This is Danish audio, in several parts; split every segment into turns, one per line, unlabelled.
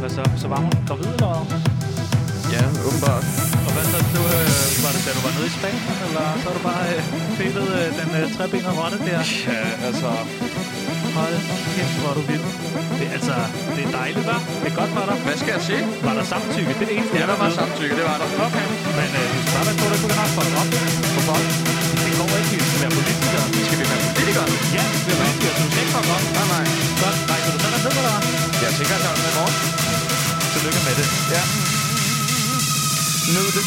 Hvad så? Så var hun gravid eller hvad?
Ja, åbenbart.
Og hvad så? Du, øh, var det da du var nede i Spanien, eller så har du bare øh, fældet øh, den øh, trebenede rotte der?
Ja, altså...
Hold kæft, hvor er du vild. Det, er altså, det er dejligt, hva'? Det er godt for dig.
Hvad skal jeg sige?
Var der samtykke? Det er det eneste,
Ja,
jeg
der var
ved.
samtykke, det var der.
Okay, men øh, du skal bare være på, der kunne have for op. Hvorfor? Det går ikke, vi skal være politikere.
Skal vi være politikere?
Ja, vi skal være politikere, så du skal ikke fuck op.
Nej, nej.
Godt, rejser du så derned, eller hvad?
Jeg tænker, at jeg er med i morgen.
Tillykke med det.
Ja. Nu er det.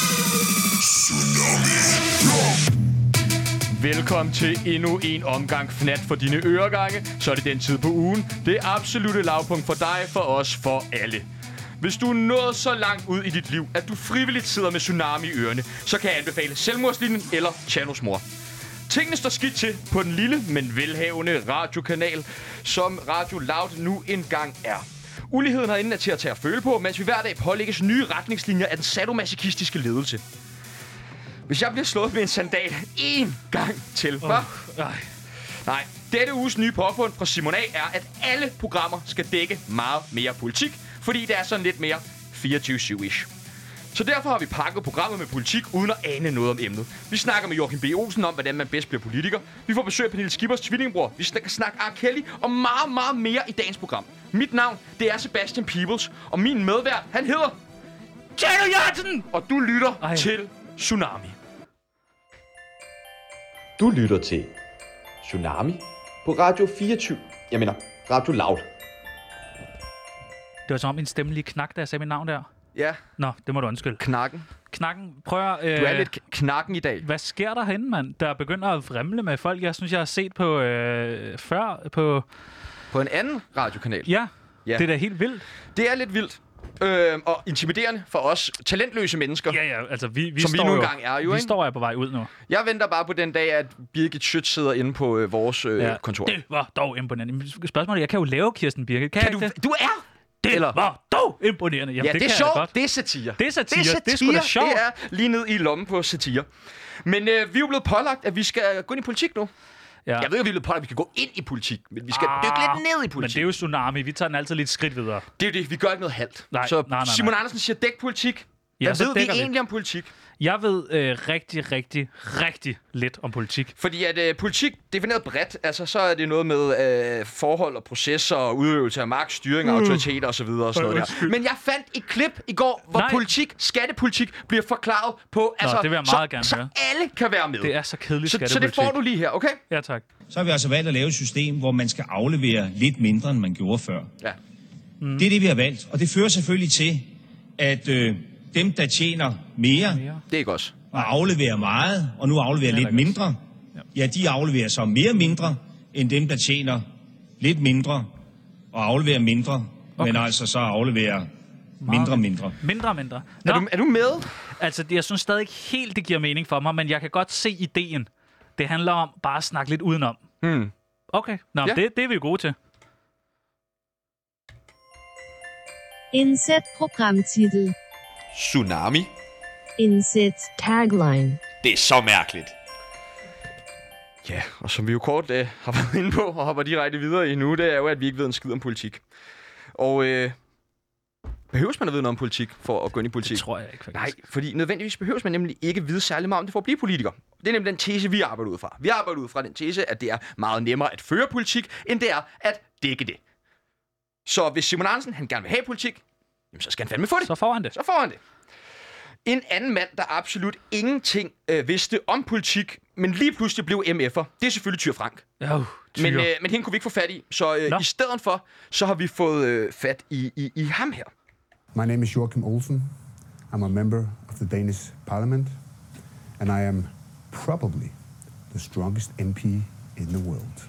Velkommen til endnu en omgang fnat for dine øregange. Så er det den tid på ugen. Det absolute lavpunkt for dig, for os, for alle. Hvis du er nået så langt ud i dit liv, at du frivilligt sidder med tsunami i ørerne, så kan jeg anbefale Selvmordslinjen eller Chanos mor. Tingene står skidt til på den lille, men velhavende radiokanal, som Radio Loud nu engang er. Uligheden herinde er til at tage at føle på, mens vi hver dag pålægges nye retningslinjer af den sadomasochistiske ledelse. Hvis jeg bliver slået med en sandal én gang til, hva?
Ej,
Nej. Dette uges nye påfund fra Simon A. er, at alle programmer skal dække meget mere politik, fordi det er sådan lidt mere 24-7-ish. Så derfor har vi pakket programmet med politik, uden at ane noget om emnet. Vi snakker med Joachim B. Olsen om, hvordan man bedst bliver politiker. Vi får besøg af Pernille Skippers tvillingbror. Vi snakker, snakker R. Kelly og meget, meget mere i dagens program. Mit navn, det er Sebastian Peebles, og min medvært, han hedder... Tjerno Jørgensen! Og du lytter
Ej.
Ej. til Tsunami.
Du lytter til Tsunami på Radio 24. Jeg mener, Radio Loud.
det var som om min stemme lige knak, da jeg sagde mit navn der.
Ja,
Nå, det må du undskylde.
knakken.
Knakken, prøv at... Øh,
Du er lidt k- knakken i dag.
Hvad sker der herinde, mand? Der begynder at vrimle med folk, jeg synes, jeg har set på øh, før. På,
På en anden radiokanal.
ja, ja,
Ja.
det er da helt vildt.
Det er lidt vildt. Øh, og intimiderende for os talentløse mennesker.
Ja, ja, altså vi, vi
Som vi
står
nu
jo,
engang er jo,
Vi
ikke? Øh,
står jo på vej ud nu.
Jeg venter bare på den dag, at Birgit Schütz sidder inde på øh, vores øh, ja. kontor.
Det var dog imponerende. Men Spørgsmålet er, jeg kan jo lave Kirsten Birke. Kan,
kan
jeg
du,
ikke det?
du er!
Det
eller-
var dog imponerende. Jamen,
Ja, det, det er
kan jeg da
sjovt.
godt.
Det er satire.
Det er satire. Det er, det er sgu da
satire.
sjovt.
Det er lige ned i lommen på satire. Men øh, vi er jo blevet pålagt, at vi skal gå ind i politik nu.
ja.
Jeg ved, at vi er blevet pålagt, at vi skal gå ind i politik. Men vi skal ah, dykke lidt ned i
Men det
politik.
er jo tsunami. Vi tager den altid lidt skridt videre.
Det er jo det. Vi gør ikke noget halvt.
Nej,
så
nej, nej, nej.
Simon Andersen siger, dæk politik.
Ja,
Hvad
så
ved vi
dækker vi.
egentlig om politik?
Jeg ved øh, rigtig, rigtig, rigtig lidt om politik.
Fordi at øh, politik defineret bredt, altså så er det noget med øh, forhold og processer og udøvelse af magt, styring, uh. autoriteter osv. Og sådan noget der.
Mm. undskyld.
Men jeg fandt et klip i går, hvor
Nej.
Nej. politik, skattepolitik bliver forklaret på, altså,
det vil jeg meget
så,
gerne
så
høre.
alle kan være med.
Det er så kedeligt
så, så det får du lige her, okay?
Ja, tak.
så har vi altså valgt at lave et system, hvor man skal aflevere lidt mindre, end man gjorde før.
Ja.
Mm. Det er det, vi har valgt. Og det fører selvfølgelig til, at øh, dem, der tjener mere
Det er ikke os.
og afleverer meget, og nu afleverer lidt mindre, ja, de afleverer så mere mindre, end dem, der tjener lidt mindre og afleverer mindre, okay. men altså så afleverer mindre mindre.
Mindre og mindre. Nå,
Er du, er du med?
altså, jeg synes stadig ikke helt, det giver mening for mig, men jeg kan godt se ideen. Det handler om bare at snakke lidt udenom. Hmm. Okay, Nå, ja.
Ja.
det, det er vi jo gode til.
Inset Programmtitel.
Tsunami.
Inset Tagline.
Det er så mærkeligt.
Ja, og som vi jo kort øh, har været inde på og hopper direkte videre i nu, det er jo, at vi ikke ved en skid om politik. Og øh, behøves man at vide noget om politik for at gå ind i politik?
Det tror jeg ikke, faktisk.
Nej, fordi nødvendigvis behøves man nemlig ikke vide særlig meget om det for at blive politiker. Det er nemlig den tese, vi arbejder ud fra. Vi arbejder ud fra den tese, at det er meget nemmere at føre politik, end det er at dække det. Så hvis Simon Andersen han gerne vil have politik, jamen, så skal han fandme få det.
Så får han det.
Så får han det. En anden mand, der absolut ingenting øh, vidste om politik, men lige pludselig blev MF'er, det er selvfølgelig Tyr Frank.
Jo,
Men,
tyre.
øh, men hende kunne vi ikke få fat i, så øh,
Nå.
i stedet for, så har vi fået øh, fat i, i, i ham her.
My name is Joachim Olsen. I'm a member of the Danish parliament, and I am probably the strongest MP in the world.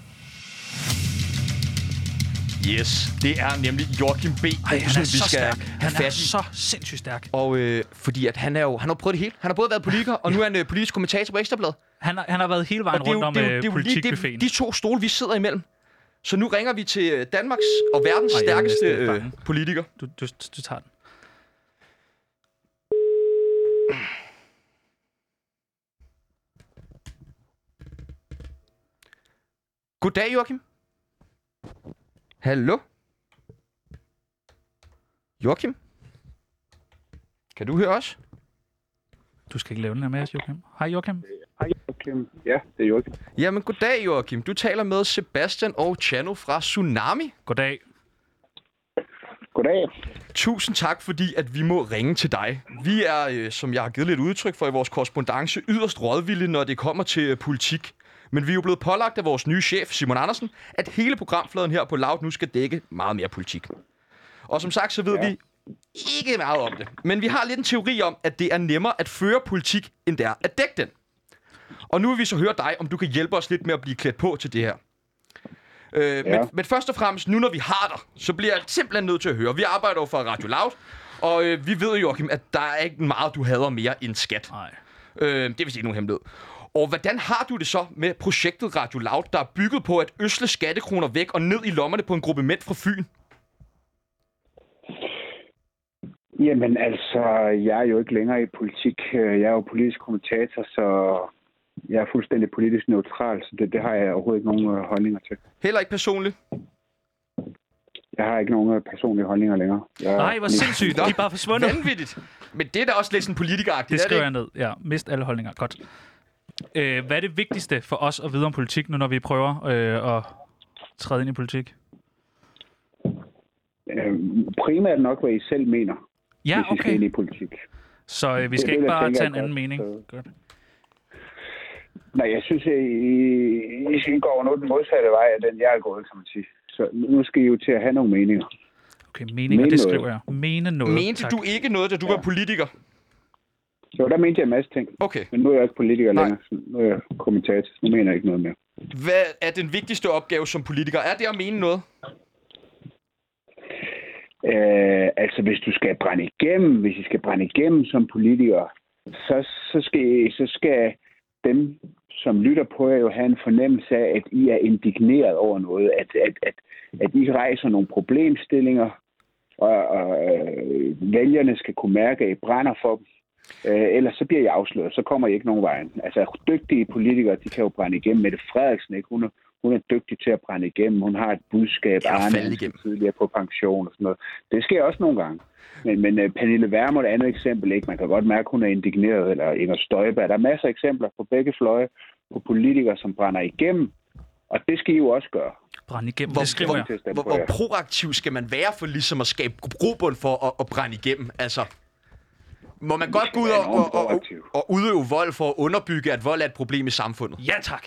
Yes, det er nemlig Joachim B.
Ej, han
Olsen,
er
vi
så
skal
stærk.
have
Han er
fat i.
så sindssygt stærk.
Og øh, fordi at han er jo, han har prøvet det hele. Han har både været politiker, og nu er han øh, politisk kommentator på Ekstrabladet.
Han har, han har været hele vejen
Og det er
rundt
jo,
om
det er jo,
øh,
det er jo lige det,
politikbuffeten.
de to stole, vi sidder imellem. Så nu ringer vi til øh, Danmarks og verdens
Ej, jeg er
stærkeste
næsten lidt
øh,
bange.
politiker.
Du, du, du tager den.
Goddag, Joachim. Hallo? Joachim? Kan du høre os?
Du skal ikke lave den her med os, Joachim. Hej, Joachim.
Hej, Joachim. Ja, det er Joachim.
Jamen, goddag Joachim. Du taler med Sebastian og Chano fra Tsunami.
Goddag.
Goddag.
Tusind tak, fordi at vi må ringe til dig. Vi er, øh, som jeg har givet lidt udtryk for i vores korrespondence, yderst rådvilde, når det kommer til øh, politik. Men vi er jo blevet pålagt af vores nye chef, Simon Andersen, at hele programfladen her på Loud nu skal dække meget mere politik. Og som sagt, så ved ja. vi ikke meget om det. Men vi har lidt en teori om, at det er nemmere at føre politik, end det er at dække den. Og nu vil vi så høre dig, om du kan hjælpe os lidt med at blive klædt på til det her. Øh, ja. men, men først og fremmest, nu når vi har dig, så bliver jeg simpelthen nødt til at høre. Vi arbejder jo for Radio Loud, og øh, vi ved jo, Joachim, at der er ikke meget, du hader mere end skat.
Nej.
Øh, det vil sige nogen hemmelighed. Og hvordan har du det så med projektet Radio Loud, der er bygget på at øsle skattekroner væk og ned i lommerne på en gruppe mænd fra Fyn?
Jamen altså, jeg er jo ikke længere i politik. Øh, Jeg er jo politisk kommentator, så jeg er fuldstændig politisk neutral, så det, det har jeg overhovedet ikke nogen øh, holdninger til.
Heller ikke personligt.
Jeg har ikke nogen øh, personlige holdninger længere. Jeg,
Nej, hvor sindssygt. De er bare forsvundet.
Vanvittigt. Men det er da også lidt sådan politikeragtigt,
Det
er det
skriver
ikke?
jeg ned. Ja, mist alle holdninger. Godt. Øh, hvad er det vigtigste for os at vide om politik, nu når vi prøver øh, at træde ind i politik?
Øh, primært nok, hvad I selv mener,
Ja,
hvis I skal ind
okay.
i politik.
Så øh, vi skal
det,
ikke
jeg
bare
tænker
tage
er
en anden
godt,
mening.
så-
Godt.
Nej, jeg synes, at I, I skal gå nu den modsatte vej af den, jeg er gået, kan man sige. Så nu skal I jo til at have nogle meninger.
Okay, meninger, det
noget.
skriver jeg. Mene noget.
Mente
tak.
du ikke noget, da du ja. var politiker?
Så der mente jeg en masse ting.
Okay.
Men nu er jeg ikke politiker
Nej.
Nej. længere. Så nu er jeg kommentator. Nu mener jeg ikke noget mere.
Hvad er den vigtigste opgave som politiker? Er det at mene noget?
Øh, altså, hvis du skal brænde igennem, hvis I skal brænde igennem som politikere, så, så, skal, I- så skal dem, som lytter på jer, jo have en fornemmelse af, at I er indigneret over noget, at, at, at, at I rejser nogle problemstillinger, og, og øh, vælgerne skal kunne mærke, at I brænder for dem. Øh, ellers så bliver I afsløret, så kommer I ikke nogen vejen. Altså, dygtige politikere, de kan jo brænde igennem. Mette Frederiksen, ikke? Hun, er, hun er dygtig til at brænde igennem. Hun har et budskab.
Ja,
Arne,
falde
han
igennem.
skal tidligere på pension og sådan noget. Det sker også nogle gange. Men, men uh, Pernille Wermund er et andet eksempel, ikke? Man kan godt mærke, at hun er indigneret, eller Inger Støjberg. Der er masser af eksempler på begge fløje på politikere, som brænder igennem. Og det skal I jo også gøre.
Brænde igennem,
Hvor,
det skriver jeg.
til
hvor,
at stemme
hvor,
på
hvor
jer.
proaktiv skal man være for ligesom at skabe grobund for at, at brænde igennem? Altså, må man godt gå ud
være
og,
enormt
og, og,
proaktiv.
og udøve vold for at underbygge, at vold er et problem i samfundet?
Ja, tak.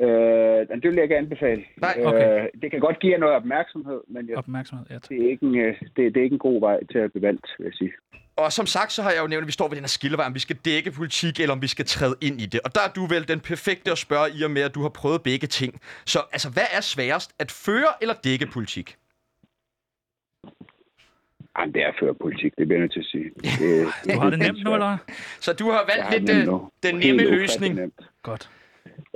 Øh, det vil jeg ikke anbefale.
Nej,
okay.
øh, det kan godt give jer noget opmærksomhed, men jeg,
Opmærksomhed, ja tak.
det, er ikke en, øh, det, det er ikke en god vej til at blive valgt, vil jeg sige.
Og som sagt, så har jeg jo nævnt, at vi står ved den her skillevej, om vi skal dække politik, eller om vi skal træde ind i det. Og der er du vel den perfekte at spørge i og med, at du har prøvet begge ting. Så altså, hvad er sværest? At føre eller dække politik?
Jamen, det er før politik, det bliver jeg nødt til at sige. Det,
Du har det nemt nu, eller? hvad?
Så du har valgt
Ja,
lidt
nemt
øh,
nu.
den
Helt
nemme
ufattelig
løsning.
nemt.
Godt.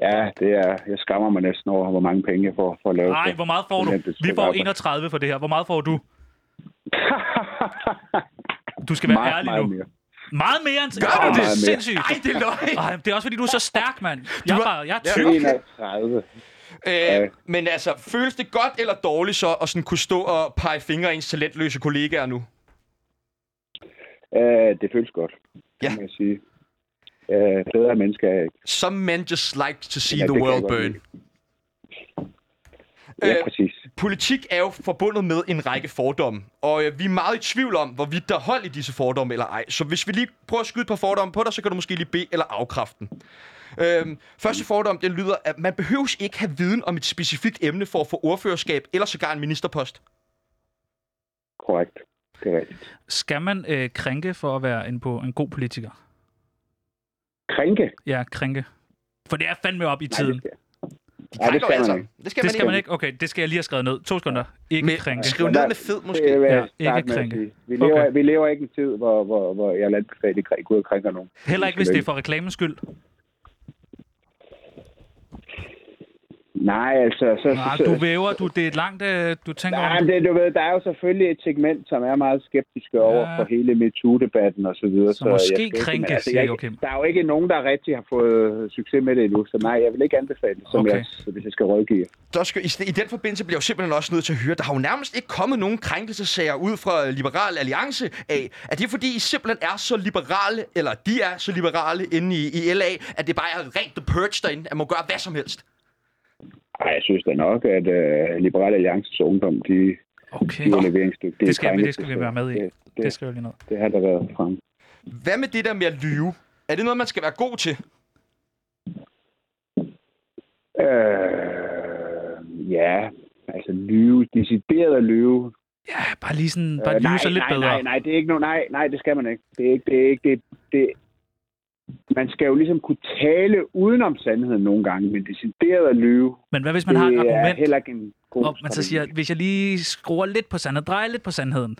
Ja, det er, jeg skammer mig næsten over, hvor mange penge jeg får for at lave
Nej,
det.
hvor meget får du?
det nemt, det
Vi
skal
får
være.
31 for det her. Hvor meget får du? Du skal være
meget,
ærlig
meget
nu.
Mere.
Meget mere end...
Gør du
Åh,
det?
er Sindssygt.
Nej, det er løgn!
Ej, det er også fordi, du er så stærk, mand. Jeg er,
var-
bare, jeg er
Ja.
tyk.
31.
Øh, men altså, føles det godt eller dårligt så at sådan kunne stå og pege fingre af ens talentløse kollegaer nu?
Øh, det føles godt,
Ja.
ja. må jeg sige. Øh, bedre mennesker er jeg ikke.
Some men just like to see
Ja,
the
det kan
world
jeg godt
burn.
lide. Ja,
Øh,
præcis.
Politik er jo forbundet med en række fordomme, og øh, vi er meget i tvivl om, hvorvidt der er hold i disse fordomme eller ej. Så hvis vi lige prøver at skyde et par fordomme på dig, så kan du måske lige bede eller afkræfte den. Øhm, første fordom, den lyder, at man behøves ikke have viden om et specifikt emne for at få ordførerskab eller sågar en ministerpost.
Korrekt. Det er rigtigt.
Skal man øh, krænke for at være en, på, en god politiker?
Krænke?
Ja, krænke. For det er fandme op i
Nej, det
tiden.
skal, Nej, det
Krænker
skal
jo altså.
man
alle
ikke.
sammen. Det skal,
Det skal
man
man
ikke.
ikke. Okay, det skal jeg lige have skrevet ned. To sekunder. Ikke
Men-
krænke.
Skriv ned med fed, måske.
Det vil jeg
Ja,
starte
ikke
med at
krænke.
sige. Vi lever,
Okay.
vi lever ikke i en tid, hvor, hvor, hvor jeg lader anbefale, at I går ud og krænker nogen.
Heller ikke, hvis det er for reklamens skyld.
Nej, altså... Så,
Nej,
så,
Ah, du væver, du, det er et langt, øh, du tænker over
Nej,
det.
men det, du ved, der er jo selvfølgelig et segment, som er meget skeptiske ja. over for hele MeToo-debatten og så videre.
Så måske
jeg skal ikke-
krænke,
men jeg
siger
ikke-
Joachim.
Der er jo ikke nogen, der rigtig har fået succes med det endnu, så nej, jeg vil ikke anbefale det, som
Okay.
okay. jeg, så hvis jeg skal rådgive.
Der skal, i, I den forbindelse bliver jeg jo simpelthen også nødt til at høre, der har jo nærmest ikke kommet nogen krænkelsesager ud fra øh, Liberal Alliance af. Er det fordi, I simpelthen er så liberale, eller de er så liberale inde i, i LA, at det bare er rent the purge derinde, at man gør hvad som helst?
Nej, jeg synes da nok, at uh, Liberale Alliances ungdom, de, de
Okay,
er leveringsdygtige.
det skal, vi,
drenge,
det skal vi være med i.
Det, det,
Det
det,
skal vi lige ned.
det har der været frem.
Hvad med det der med at lyve? Er det noget, man skal være god til?
Øh, ja, altså lyve, decideret at lyve, Øh,
Ja, bare lige sådan, bare lyse
nej,
lidt
nej,
bedre.
Nej, nej, det er ikke no, nej, nej, det skal man ikke. Det er ikke, det er ikke, det, det, man skal jo ligesom kunne tale udenom sandheden nogle gange, men decideret at lyve,
Men hvad hvis man har et
det er
argument,
heller ikke en god
hvor man så
strategi.
siger, hvis jeg lige skruer lidt på sandheden, drejer lidt på sandheden,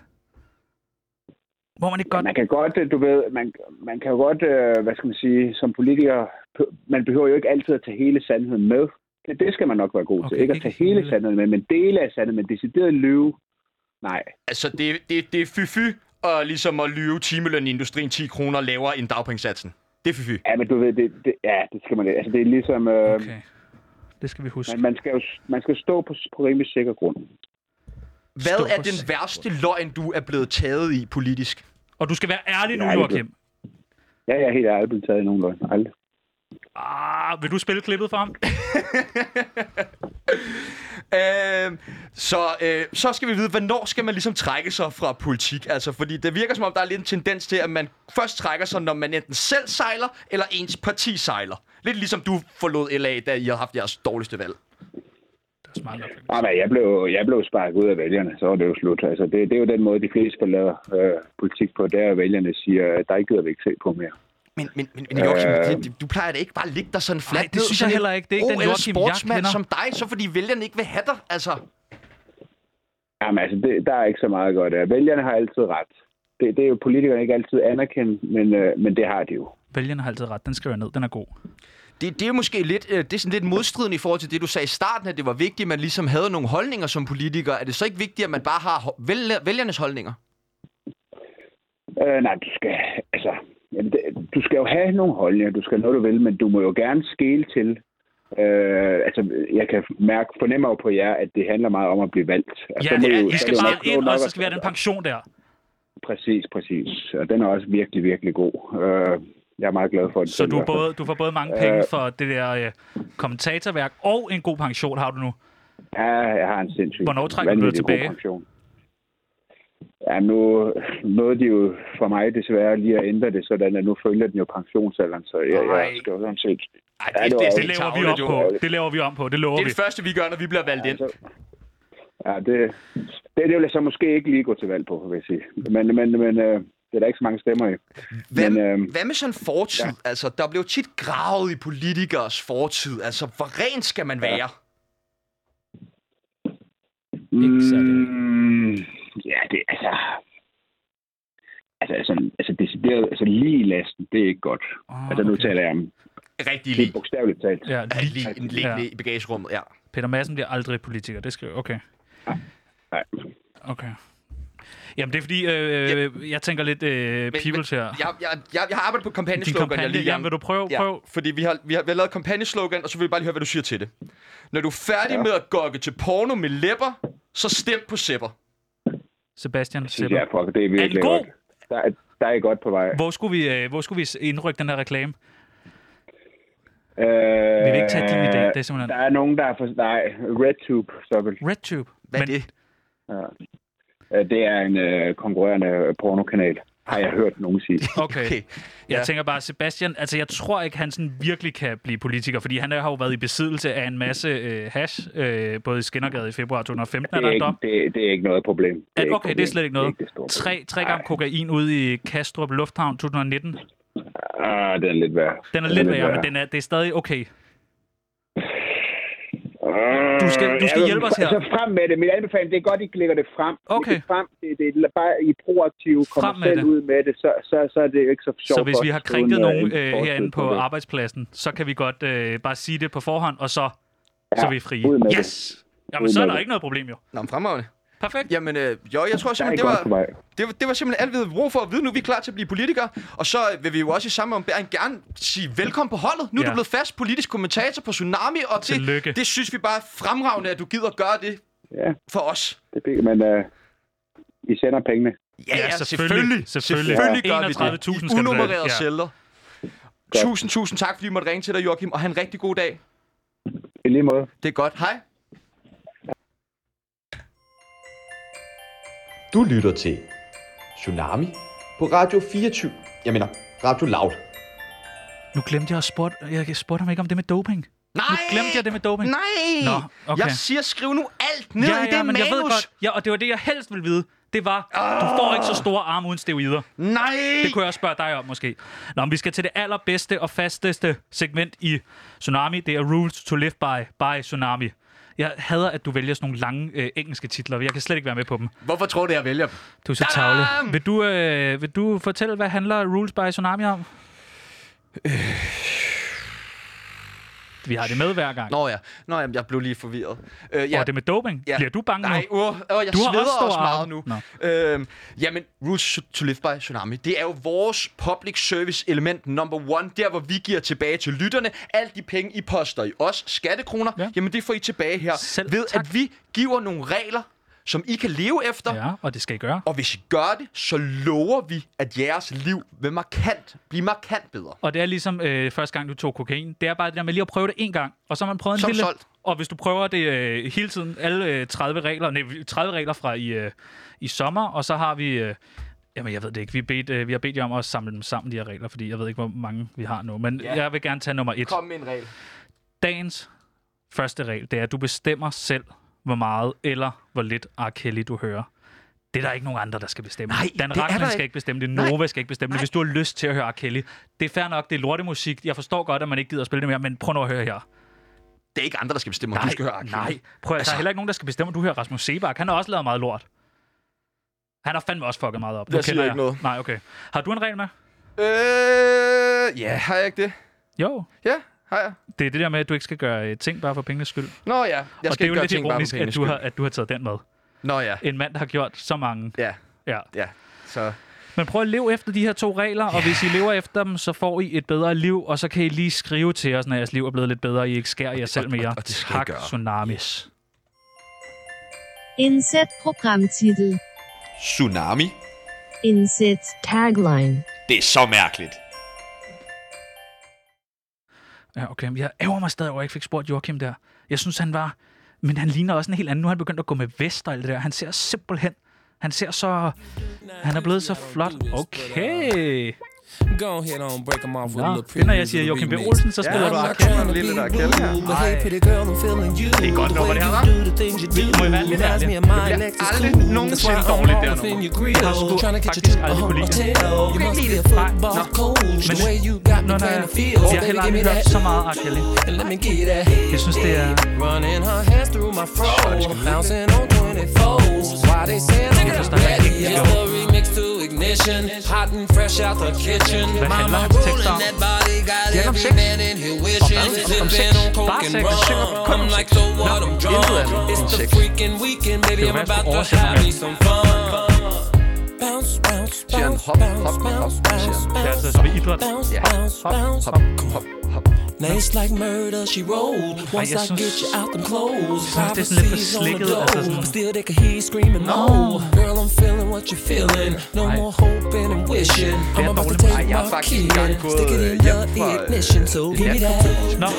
må man ikke godt...
Man kan godt, øh, du ved, man, man kan jo godt, øh, hvad skal man sige, som politiker, p- man behøver jo ikke altid at tage hele sandheden med. Det, det skal man nok være god okay,
Okay,
til. Ikke at
ikke
tage hele,
hele.
sandheden med, men dele af sandheden, men decideret lyve, nej.
Altså, det, det, det er fy-fy, og ligesom at lyve timeløn i industrien 10 kroner lavere end dagpengesatsen. Det er fy-fy.
Ja, men du ved, det, det, ja, det skal man ikke. Altså, det er ligesom, øh, okay.
Okay, det skal vi huske.
man, man, skal jo man skal stå på, på rimelig sikker grund.
Hvad
Stå
er
for
den
sig.
værste løgn, du er blevet taget i politisk?
Og du skal være ærlig nu,
Nej, det er-
Joachim.
Ja, jeg er helt ærligt blevet taget i nogen løgn. Aldrig.
Ah, vil du spille klippet for ham?
Øh, så, øh, så skal vi vide, hvornår skal man ligesom trække sig fra politik? Altså, fordi det virker som om, der er lidt en tendens til, at man først trækker sig, når man enten selv sejler, eller ens parti sejler. Lidt ligesom du forlod LA, da I har haft jeres dårligste valg.
Det er smart nok.
Ah, men jeg blev, jeg blev sparket ud af vælgerne, så var det jo slut. Altså, det, det er jo den måde, de fleste forlader øh, politik på, der vælgerne siger, at der ikke gider vi ikke se på mere.
Men, men, men, men Joachim,
Øh.
det, det- du plejer da ikke bare at ligge dig sådan fladt
Nej, det synes jeg heller ikke. Det er ikke den Joachim, jeg
sportsmand
kender.
som dig, så fordi vælgerne ikke vil have dig. Altså,
Jamen altså, det, der er ikke så meget godt af. Vælgerne har altid ret. Det, det er jo politikerne ikke altid anerkendt, men, øh, men det har de jo.
Vælgerne har altid ret. Den skriver jeg ned. Den er god.
det, det er måske lidt, øh, det er sådan lidt modstridende i forhold til det, du sagde i starten, at det var vigtigt, at man ligesom havde nogle holdninger som politiker. Er det så ikke vigtigt, at man bare har ho- vælger, vælgernes holdninger?
Øh, nej, du skal, altså, jamen, det, du skal jo have nogle holdninger, du skal have noget, du vil, men du må jo gerne skele til. Øh, altså, jeg kan mærke, fornemmer jo på jer, at det handler meget om at blive valgt. Altså,
Ja,
så må
ja,
I jo-
I
så er
skal
det jo
bare
nok-
ind,
nok
og så
at-
skal vi have den pension der.
Præcis, præcis. Og den er også virkelig, virkelig god. Øh, jeg er meget glad for den.
Så
selv i
du,
hvert fald.
både, du får både mange penge for det der øh, kommentatorværk, og en god pension har du nu.
Ja, jeg har en sindssyg.
Hvornår trækker du dig
vanvittig god
tilbage?
pension. Ja, nu nåede de jo for mig desværre lige at ændre det, sådan at nu følger den jo pensionsalderen, så jeg, jeg
Nej.
skal jo sådan set...
Ej,
Ja, det var-
Det laver vi om på. Det laver vi om på. Det lover
Det er
vi.
det første, vi gør, når vi bliver valgt ind.
Altså, ja, det, det, det vil jeg så måske ikke lige gå til valg på, vil jeg sige. Men, men, men øh, det er der ikke så mange stemmer i.
Hvad,
Men,
men,
øhm,
hvad med sådan fortid? Ja. Altså, der blev tit gravet i politikers fortid. Altså, hvor ren skal man være?
Ikke særlig.
Mm, ja, det altså... Altså, altså, altså decideret, altså lige lasten, det er ikke godt.
Ah,
Ah, altså, nu
okay.
taler jeg om
Rigtig
helt
lige.
bogstaveligt talt.
Ja, lige.
Lige liggende i bagagerummet, ja.
Peter Madsen bliver aldrig politiker. Det skal okay.
Nej.
Okay. Jamen, det er fordi, øh, jeg tænker lidt øh, peoples her.
Jeg, jeg, jeg, jeg har arbejdet på
Din
kampagneslogan. jeg
kampagne,
lige
jamen, vil du prøve?
Ja,
prøve?
Fordi vi har, vi, har, vi har lavet kampagneslogan, og så vil jeg bare lige høre, hvad du siger til det.
Når du er færdig ja. med at gokke til porno med læpper, så stem på sæpper.
Sebastian
Synes jeg,
Sepper.
fuck, det er virkelig
Er den god?
godt. Der er, der er I godt på vej.
Hvor skulle vi, øh, hvor skulle vi s- indrykke den her reklame?
Øh,
Vi vil ikke tage din idé, det er simpelthen-
Der er nogen, der er for... Nej, RedTube, så vel.
RedTube.
Hvad er
Men-
det?
Øh, Det er en øh, konkurrerende pornokanal, har jeg hørt nogen sige.
Okay. okay.
Okay.
Jeg
Ja.
tænker bare, Sebastian, altså jeg tror ikke, han sådan virkelig kan blive politiker, fordi han har jo været i besiddelse af en masse øh, hash, øh, både i Skindergade i februar 2015, er
Det
der
er,
en
ikke,
dom.
det, det er ikke noget problem. Det
At,
ikke
okay, det er
problem.
slet ikke
Det er
noget.
ikke det store problem.
Tre, tre gram kokain ude i Kastrup Lufthavn 2019.
Ah, den er lidt værd.
Den er lidt værre, men den er, det er stadig okay. Du skal- du skal
Øh,
hjælpe os her.
Altså frem med det. Min anbefaling, det er godt, I klikker det frem.
Okay.
I kan frem, det, det er bare I er proaktive,
Frem
kommer
med
selv
det.
ud med det, så, så, så er det jo ikke så sjovt.
Så hvis
for
vi
os
har
uden,
krænket
øh,
nogen
en
øh,
forskel
herinde på
det.
arbejdspladsen, så kan vi godt øh, bare sige det på forhånd, og så så er vi frie.
ud med det.
Yes! Jamen, så er
med
der
det.
ikke noget problem jo.
Nå, men fremragende.
Perfekt.
Jamen, øh, jo, jeg tror
Der er
simpelthen,
ikke
det
godt på
var,
vej.
det, var, det var simpelthen alt, vi havde brug for at vide nu. Vi er klar til at blive politikere. Og så vil vi jo også i samme ombæring gerne sige velkommen på holdet. Nu er
Ja.
du blevet fast politisk kommentator på Tsunami, og
Tillykke.
det, det synes vi bare er fremragende, at du gider gøre det
Ja,
for os.
det fik man. Uh, I sender pengene.
Ja, ja
selvfølgelig. Selvfølgelig.
selvfølgelig gør vi
31.000
det.
skal du
I
have.
unummererede
Ja.
celler. Tusind, tusind tak, fordi I måtte ringe til dig, Joachim, og have en rigtig god dag.
I lige måde.
Det er godt. Hej.
Du lytter til Tsunami på Radio 24. Jeg mener, Radio Loud.
Nu glemte jeg at spørge, jeg spurgte ham ikke om det med doping.
Nej!
Nu glemte jeg det med doping.
Nej!
Nå, okay.
Jeg siger, skriv nu alt ned i
men
det manus.
jeg ved godt. Ja, og det var det, jeg helst ville vide. Det var, du får ikke så store arme uden steroider.
Nej!
Det kunne jeg også spørge dig om, måske. Nå, men vi skal til det allerbedste og fasteste segment i Tsunami. Det er Rules to Live By, by Tsunami. Jeg hader, at du vælger sådan nogle lange øh, engelske titler. Jeg kan slet ikke være med på dem.
Hvorfor tror du, jeg vælger dem?
Du er så tavle. Vil du, øh, vil du fortælle, hvad handler Rules by Tsunami om?
Øh.
Vi har det med hver gang. Nå,
Nå ja, Nå, jamen, jeg blev lige forvirret. Øh,
ja. Og det med doping. Ja. Bliver du bange
Nej,
nu?
uh, uh, jeg
Du
du
har
sveder
også
også,
store
meget
arme.
nu. Øhm, jamen, Rules to Live by Tsunami, det er jo vores public service element number one, der hvor vi giver tilbage til lytterne. Alt de penge, I poster i os, skattekroner,
Ja.
ja. jamen det får I tilbage her.
Selv
ved
tak.
at vi giver nogle regler, som I kan leve efter,
Ja, og det skal I gøre.
Og hvis I gør det, så lover vi, at jeres liv vil markant, blive markant bedre.
Og det er ligesom øh, første gang, du tog kokain. Det er bare det der med lige at prøve det en gang, og så har man prøvet en
Som
lille...
solgt.
Og hvis du prøver det øh, hele tiden, alle øh, 30 regler, nej, 30 regler fra i, øh, i sommer, og så har vi... Øh, jamen, jeg ved det ikke. Vi, bedt, øh, vi har bedt jer om at samle dem sammen, de her regler, fordi jeg ved ikke, hvor mange vi har nu. Men ja.
Ja.
jeg vil gerne tage nummer et.
Kom med en regel.
Dagens første regel, det er, at du bestemmer selv, hvor meget eller hvor lidt R. Kelly du hører. Det er der ikke nogen andre, der skal bestemme.
Nej,
Dan
det er
Rachman
der
skal
ikke.
ikke bestemme det.
Nej.
Nova skal ikke bestemme det. Hvis du har lyst til at høre R. Kelly, det er fair nok, det er lortemusik. Jeg forstår godt, at man ikke gider at spille det mere, men prøv nu at høre her.
Det er ikke andre, der skal bestemme, om du skal høre Arkin.
nej. Prøv, altså, der er heller ikke nogen, der skal bestemme, om du hører Rasmus Sebak. Han har også lavet meget lort. Han har fandme også fucket meget op. Nu
Jeg siger
kender
ikke noget.
Nej, okay. Har du en regel med?
Øh, ja, har jeg ikke det?
Jo.
Ja, har jeg.
Det er det der med, at du ikke skal gøre øh, ting bare for pengenes skyld. Jeg
Nå ja, jeg
og det er
skal
jo
ikke gøre
lidt
ting bare
ironisk,
på
at
pengenes
du, har,
skyld.
at du har taget den med.
Nå ja,
En mand, der har gjort så mange.
ja,
Ja.
ja. Så
Men prøv at leve efter de her to regler, og hvis I lever efter dem, så får I et bedre liv, og så kan I lige skrive til os, når jeres liv er blevet lidt bedre, og I ikke skærer jer selv mere.
og- og det skal I
tak,
gøre.
Tsunami.
Inset Programmtitel.
Tsunami.
Inset Tagline.
Det er så mærkeligt.
Ja, okay. men Jeg ærger mig stadig over, at jeg ikke fik spurgt Joachim der. Jeg synes, han var... Men han ligner også en helt anden. Nu er han begyndt at gå med vest og alt det der. Han ser simpelthen... Han ser så... Han er blevet så flot. Okay.
Go ahead on, break 'em off with a
Nå,
little
det er, når jeg
preview
siger
of the
Joachim B.
remix.
Olsen, så
Ja,
spiller
I'm
du
det
not
var
Arcade.
trying to
Lidt af det
be
Arcade her.
rude, but hey, pretty girl, I'm feeling you. The
godt nummer,
way
det her,
you
hva'?
do the things you do
må jo være lidt
reminds me of my next is
aldrig
cool.
nogensinde
That's why I'm
dårligt, det her
all up in
nummer.
your grill,
Jeg har sgu
trying to get
faktisk
you to
aldrig
a
kunne lide det.
hotel. You
kan
must
ikke
be
lide
a
det.
football
Nej, nå.
coach,
Men
the way you got me
når der
playing the
er,
field.
jeg har
Baby,
heller
give me
aldrig hørt
that.
så meget R. Kelly.
And let me get that.
Jeg synes, det er...
Running her hands through my fro. Bouncing on 24s. Why they saying I'm
forstår
not
heller ikke,
ready?
det
It's
går.
the remix to ignition. Hot and fresh out the kitchen.
Hvad handler
Mama
hans tekster om?
rolling that body. Got
Det er om
every
sex.
man in here wishing.
hvad? Om- om
Sipping
sex.
on coke
Bare
and
sex. Han synger
rum.
kun om
I'm
sex.
like, so what?
Nå,
I'm
intet af det
drunk.
om
It's the
sex.
freaking weekend, baby.
Det er
I'm
jo værst
about to
oversætter
have
med.
me some fun. Bounce, bounce,
Siger han,
bounce,
hop, hop,
bounce,
hop,
bounce,
siger han.
bounce,
Det er altså som i idræt.
bounce,
ja,
bounce,
hop,
bounce.
hop, hop, hop.
Nice like murder, she rolled. Once
jeg
I
synes-
get you out them clothes,
jeg synes, det er sådan lidt for
prophecies on the
slikket,
door.
altså sådan-
But Still they can hear you screaming, no. Girl, I'm feeling what you're feeling. No
Nej.
more hoping and wishing.
er
I'm about to
dårligt.
take
Ej, jeg har
my
faktisk
key
engang
and
gået,
stick it
øh,
in
hjem fra,
the
øh,
ignition. So give me that.
Nå,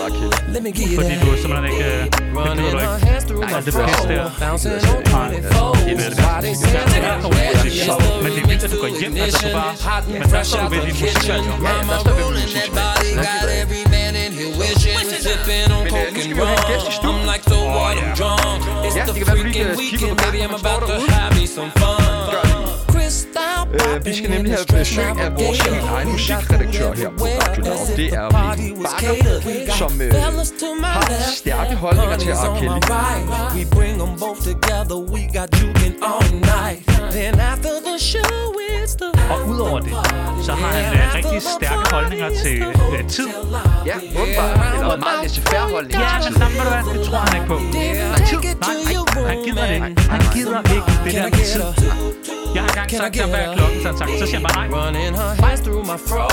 Let me give you
fordi
that.
du simpelthen ikke... øh, Det
Running
lyder du
our
ikke.
hands through my
det er
fro.
bedst, det er.
Bouncing on 24s. Why they saying
Det er
I'm
dårligt
ready?
musik, så. Men det er vildt, at du går hjem, altså du bare...
Hot and
Men er der
fresh
står du
out
ved
the
dit
kitchen.
musikvalg, jo.
Ja, der
Mama
står vi ved
rolling that body,
musikvalg.
got
er-
every man in here wishing. Sipping on
Men, øh,
coke
nu skal
and
vi jo have en
er
gæst i
rum.
studiet.
I'm like, so what, I'm drunk. It's
Ja,
the
det kan være, du lige
freaking
kan kigge på
weekend, baby,
gangen,
I'm
han
about
står
to
derude.
have me some fun. Crystal
Øh, vi skal nemlig have besøg af vores helt egen musikredaktør her på Radio Loud. Det er Mikkel Bakker, som øh, har stærke holdninger til R. Kelly.
We bring them both together, we got juking all night. Then after the show, it's the
Og udover det, så har han øh, rigtig stærke holdninger til øh, tid.
Ja, åbenbart. Eller en meget laissez-faire holdning.
Ja, men nej, ved du hvad, det tror han ikke på. Tid? Nej, nej, han gider det ikke. Han gider ikke det der med tid. Jeg har engang sagt, der hvad er klokken, så har han sagt, så siger han bare nej.
Running her hands through my fro,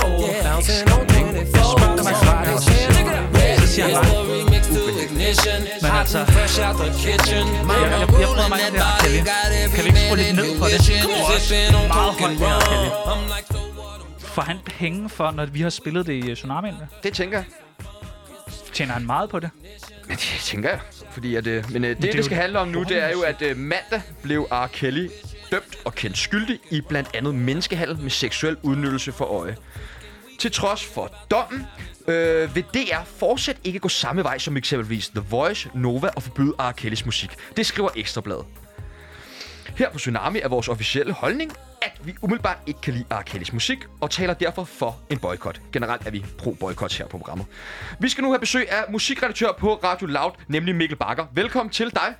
bouncing on 24.
Spørg dig, hvad klokken er, og så siger han nej. Så siger han nej. Men altså, jeg, jeg, jeg prøver mig ind der, Kelly. Kan vi ikke skrue lidt ned for det? Meget højt her, Kelly. Får han penge for, når vi har spillet det i øh, Tsunami'en?
Det tænker jeg.
Tjener han meget på det?
Ja, Det tænker jeg. Fordi at, øh, men øh, det,
det er
det,
jo
det skal handle om nu, det er jo,
forholdsvis-
at øh, mandag blev R. Kelly dømt og kendt skyldig i blandt andet menneskehandel med seksuel udnyttelse for øje. Til trods for dommen øh, vil DR fortsat ikke gå samme vej som eksempelvis The Voice, Nova og forbyde R. Kellys musik. Det skriver Ekstrabladet. Her på Tsunami er vores officielle holdning, at vi umiddelbart ikke kan lide R. Kellys musik, og taler derfor for en boykot. Generelt er vi pro-boykot her på programmet. Vi skal nu have besøg af musikredaktør på Radio Loud, nemlig Mikkel Bakker. Velkommen til dig.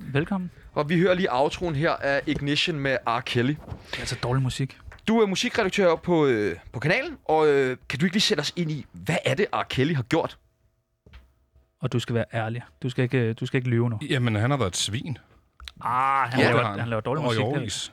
Velkommen.
Og vi hører lige outroen her af Ignition med R. Kelly.
Det er altså dårlig musik.
Du er musikredaktør på, øh, på kanalen, og øh, kan du ikke lige sætte os ind i, hvad er det, R. Kelly har gjort?
Og du skal være ærlig. Du skal ikke, øh, du skal ikke lyve nu.
Jamen, han har været et svin.
Ah, han,
Ja,
ja,
det har
laver, han laver dårlig
Og i
musik. det er
årevis.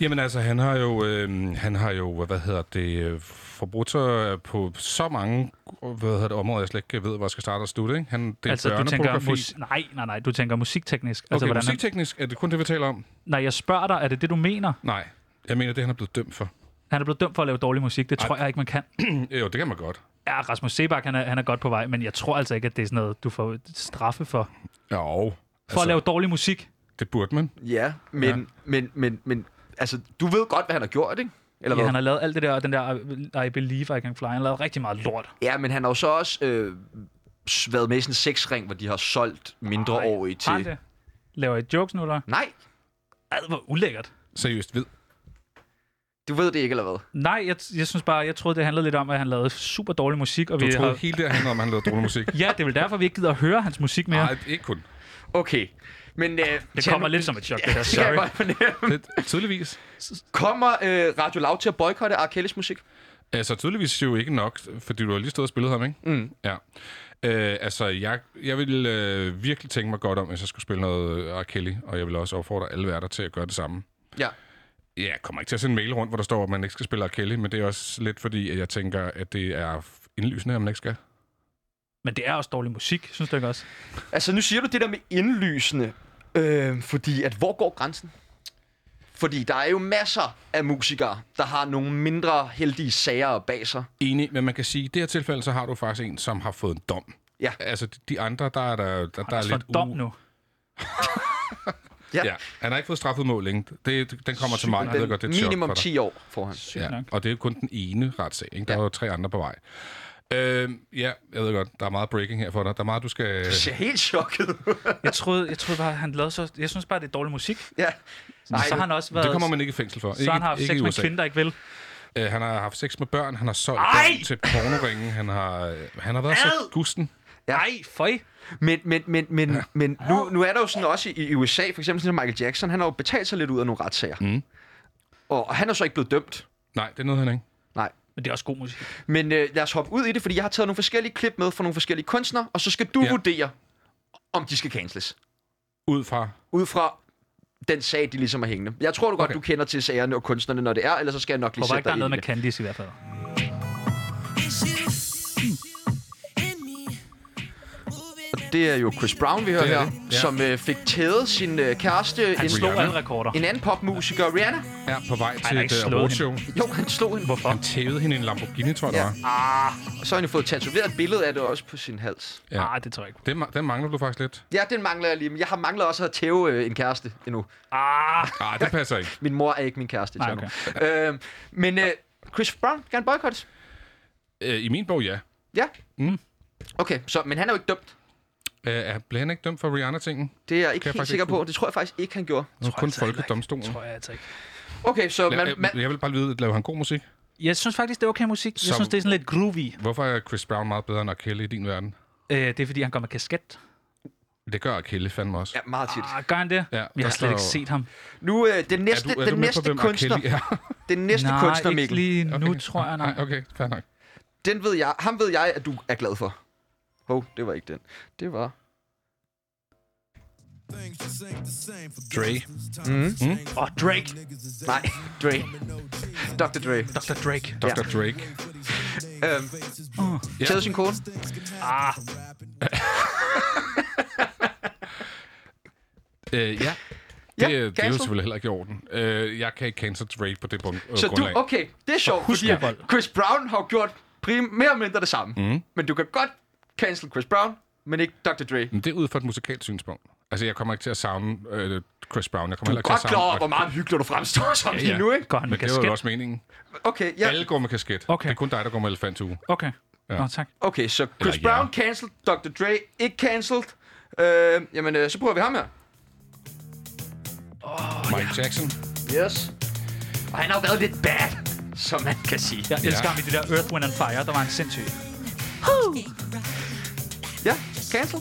Jamen altså, han har jo, øh, han har jo hvad hedder det, øh, forbrudt sig på så mange hvad hedder det, områder, jeg slet ikke ved, hvor jeg skal starte og slutte. Ikke? Han, det er
altså, du tænker
børnepornografi.
mus- nej, nej, nej, du tænker musikteknisk.
Okay,
Altså, hvordan han-
musikteknisk, er det kun det, vi taler om?
nej, jeg spørger dig, er det det, du mener?
Nej, jeg mener, det han er blevet dømt for.
Han er blevet dømt for at lave dårlig musik. Det tror jeg ikke, man kan.
jo, det kan man godt.
Ja, Rasmus Sebak, han er, han er godt på vej, men jeg tror altså ikke, at det er sådan noget, du får straffe for. For
Jo,
altså, at lave dårlig musik.
det burde man.
Ja, men, ja. men, men, men altså, du ved godt, hvad han har gjort, ikke? Eller
Ja, han har lavet alt det der, og den der øh, I- I Believe I Can Fly. Han har lavet rigtig meget lort.
ja, men han har jo så også øh, s- været med i sådan en sexring, hvor de har solgt
oh, E
mindreårige
Har han
til...
det? Laver I jokes nu, eller?
Nej,
Ad, hvor ulækkert.
Seriøst, ved.
du ved det ikke, eller hvad?
Nej, jeg, jeg synes bare, jeg troede, det handlede lidt om, at han lavede super dårlig musik. Og
Du
vi
troede
har...
hele det handlede om, at han lavede dårlig musik.
Ja, det er vel derfor, vi ikke gider at høre hans musik mere.
Nej, ikke kun.
Okay, men... Øh,
det
tag
kommer
nu-
lidt som et chok, det der.
Det kan jeg
Sorry.
godt fornemme.
Det, tydeligvis.
Kommer øh, Radio Loud til at boykotte R. Kellys musik?
Altså, tydeligvis jo ikke nok, fordi du har lige stået og spillet ham, ikke? Mm. Ja. Øh, altså, jeg, jeg ville øh, virkelig tænke mig godt om, hvis jeg skulle spille noget øh, R. Kelly, og jeg vil også opfordre alle værter til at gøre det samme.
Ja.
Jeg kommer ikke til at sende en mail rundt, hvor der står, at man ikke skal spille R. Kelly, men det er også lidt fordi, at jeg tænker, at det er indlysende, at man ikke skal.
Men det er også dårlig musik, synes du ikke også?
Altså, nu siger du det der med indlysende, øh, fordi at hvor går grænsen? Fordi der er jo masser af musikere, der har nogle mindre heldige sager bag sig.
Enig, men man kan sige, at i det her tilfælde, så har du faktisk en, som har fået en dom.
Ja.
Altså, de- de andre, der er der, der, der er
Så
lidt...
er altså dom
u-
nu.
Ja.
Ja, han har ikke fået straffeudmåling. Det, den kommer til mig. Jeg ved
Den
godt, det er et chok
minimum
for dig.
10 år foran.
Ja,
nok.
og det er kun den ene retssag. Ikke? Der
Ja.
er jo tre andre på vej. Øh, ja, jeg ved godt, der er meget breaking her for dig. Der er meget, du skal...
Jeg ser helt chokket ud.
Jeg troede, jeg troede bare, han lavede så... Jeg synes bare, det er dårlig musik.
ja.
Nej, så har han også været...
Det kommer man ikke i fængsel for.
så
ikke,
han har haft
ikke
sex
i
med
USA.
kvinder, der ikke vil.
Øh, han har haft sex med børn, han har solgt
Ej!
børn til pornoringen, han har, øh, han har været så gusten.
Nej, føj.
Men, men, men, men, ja. men nu, nu er der jo sådan også i, i USA, for eksempel sådan Michael Jackson, han har jo betalt sig lidt ud af nogle retssager. Mm. Og, og han er så ikke blevet dømt.
Nej, det er noget, han ikke.
Nej.
Men det er også god musik.
Men øh, lad os hoppe ud i det, fordi jeg har taget nogle forskellige klip med fra nogle forskellige kunstnere, og så skal du
Ja.
ja. vurdere, om de skal canceles.
Ud fra...
ud fra den sag, de ligesom er hængende. Jeg tror du godt,
Okay.
okay. du kender til sagerne og kunstnerne, når det er, ellers så skal jeg
Jeg
nok lige
håber
sætte
ikke, der
dig
er noget
ind i
med Candice i hvert fald.
det. Og det er jo Chris Brown, vi hører
Det er
her,
det. Ja.
ja. som øh, fik tædet sin øh, kæreste, en,
Han slog
Rihanna.
alle rekorder.
en anden popmusiker, Rihanna.
Er på vej
har
til
ikke
et
slået
uh, show.
Jo, han slog hende.
Hvorfor?
Han tævede hende i en Lamborghini, tror jeg,
Ja.
ja. det var.
Og så har han jo fået tatoveret et billede af det også på sin hals.
Nej,
Ja.
ah, det tror jeg ikke.
Den, ma- den mangler du faktisk lidt.
Ja, den mangler jeg lige, men jeg har manglet også at tæve øh, en kæreste endnu.
Ah, det passer ikke.
Min mor er ikke min kæreste.
Nej,
Nej, okay. øh, men øh, Chris Brown kan boykottes.
Øh, I min bog, ja.
Ja.
Mm.
Okay, så, men han er jo ikke dømt.
Øh, er- blev han ikke dømt for Rihanna-tingen?
Det er jeg
Kan jeg
ikke helt
faktisk
sikker
ikke
på. Det tror jeg faktisk ikke, han gjorde.
Det var kun
altså heller ikke.
folkedomstolen.
Tror jeg altså ikke.
Okay, så man,
Man,
man,
Jeg vil bare vide, laver han god musik?
Jeg synes faktisk, det er okay musik. Jeg
Som-
synes, det er sådan lidt groovy.
Hvorfor er Chris Brown meget bedre end R. Kelly i din verden?
Øh, det er, fordi han går med kasket.
Det gør Akille fandme også.
Ja, meget tit.
Ah, gør han det?
Ja,
jeg
der
har slet ikke
står-
set ham.
Nu, øh, den næste,
er du, er
den
du med på,
næste
hvem R.
kunstner,
Kelly er?
den næste
nej,
kunstner,
ikke
Mikkel,
lige nu,
Okay.
tror jeg nok.
Nej, okay, fair nok.
den ved jeg, ham ved jeg, at du er glad for. Hov, det var ikke den. Det var...
Dre.
Mm.
Mm?
Åh, oh, Drake.
Nej, Dre. Dr. Dre.
Dr. Drake.
Dr. Drake.
Øhm,
Uh.
Ja.
Tæder sin kone.
Ah,
Øh, ja.
Ja,
Det, ja, det er jo
cancel.
selvfølgelig heller ikke i orden. Øh, jeg kan ikke cancel Drake på det grund, øh,
Så du,
grundlag.
okay, det er sjovt, fordi
det, Bold.
Chris Brown har jo gjort prim- mere eller mindre det samme. Mm. Men du kan godt cancel Chris Brown, men ikke Dr. Dre.
Men det er ud fra et musikalt synspunkt. Altså, jeg kommer ikke til at savne øh, Chris Brown. Jeg kommer heller
Du er
ikke til
godt
at savne...
klar over, hvor meget hyggelig du fremstår som
Ja,
lige
ja.
nu, ikke?
godt med
Men det var
kasket.
jo også meningen.
Okay,
Ja.
ja.
Alle går med kasket.
Okay.
Det er kun dig, der går med elefanthue.
Okay.
Ja.
Nå, tak.
Okay, så Chris
Eller ja.
Brown cancelled, Dr. Dre ikke cancelled. Øh, jamen, øh, så prøver vi ham her.
Mike Jackson.
Yes. Og han har jo været lidt bad, som man kan sige.
Jeg elsker ham i det der Earth, Wind and Fire, der var en sindssyg.
Ja, cancel.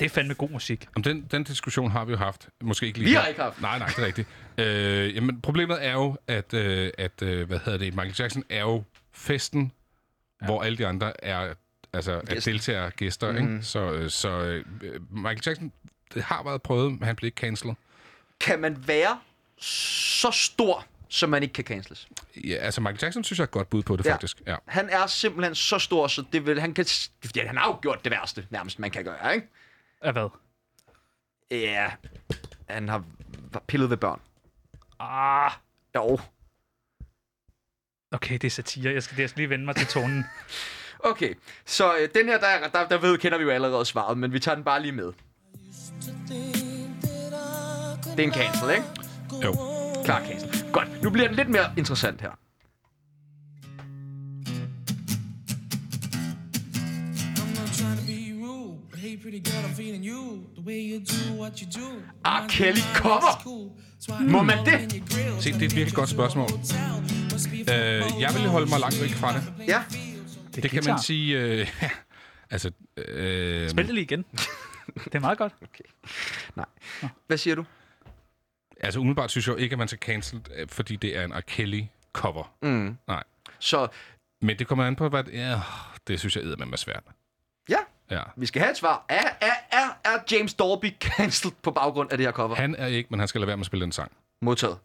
Det er fandme god musik.
Om den, den diskussion har vi jo haft. Måske ikke lige
Vi har
her.
ikke haft.
Nej, nej, det er rigtigt. Øh, jamen, problemet er jo, at, øh, at øh, hvad hedder det, Michael Jackson er jo festen, ja. hvor alle de andre er, altså, er
Gæster. Mhm.
deltagere og gæster. Mm. Ikke? Så, øh, så øh, Michael Jackson det har været prøvet, men han blev ikke cancelet.
Kan man være så stor, som man ikke kan canceles?
Ja, altså, Michael Jackson synes jeg er et godt bud på det,
Ja.
ja. faktisk. Ja.
Han er simpelthen så stor, så det vil, han kan... Fordi han har jo gjort det værste, nærmest, man kan gøre, ikke?
Af hvad?
Ja, han har var pillet ved børn.
Ah,
Jo.
okay, det er satire. Jeg skal, jeg skal lige vende mig til tonen.
Okay, så øh, den her, der, der, der ved, kender vi jo allerede svaret, men vi tager den bare lige med. Det er en cancel, ikke?
Jo.
Klar cancel. Godt, nu bliver den lidt mere interessant her.
Ah, Kelly cover!
Må man det?
Se, det er et virkelig godt spørgsmål. Øh, jeg vil holde mig langt væk fra det.
Ja,
Det, det kan
guitar.
man sige... Øh, ja. altså, øh,
Spil det lige igen. Det er meget godt.
hvad siger du?
altså umiddelbart synes jeg jo ikke, at man skal cancel, øh, fordi det er en R. Kelly-cover. Mm. Nej.
Så
Men det kommer an på, hvad... Ja, det synes jeg eddermame er svært.
ja,
Ja.
vi skal have et svar. Er, er, er, er James Dorby cancelled på baggrund af det her cover?
Han er ikke, men han skal lade være med at spille den sang.
Modtaget.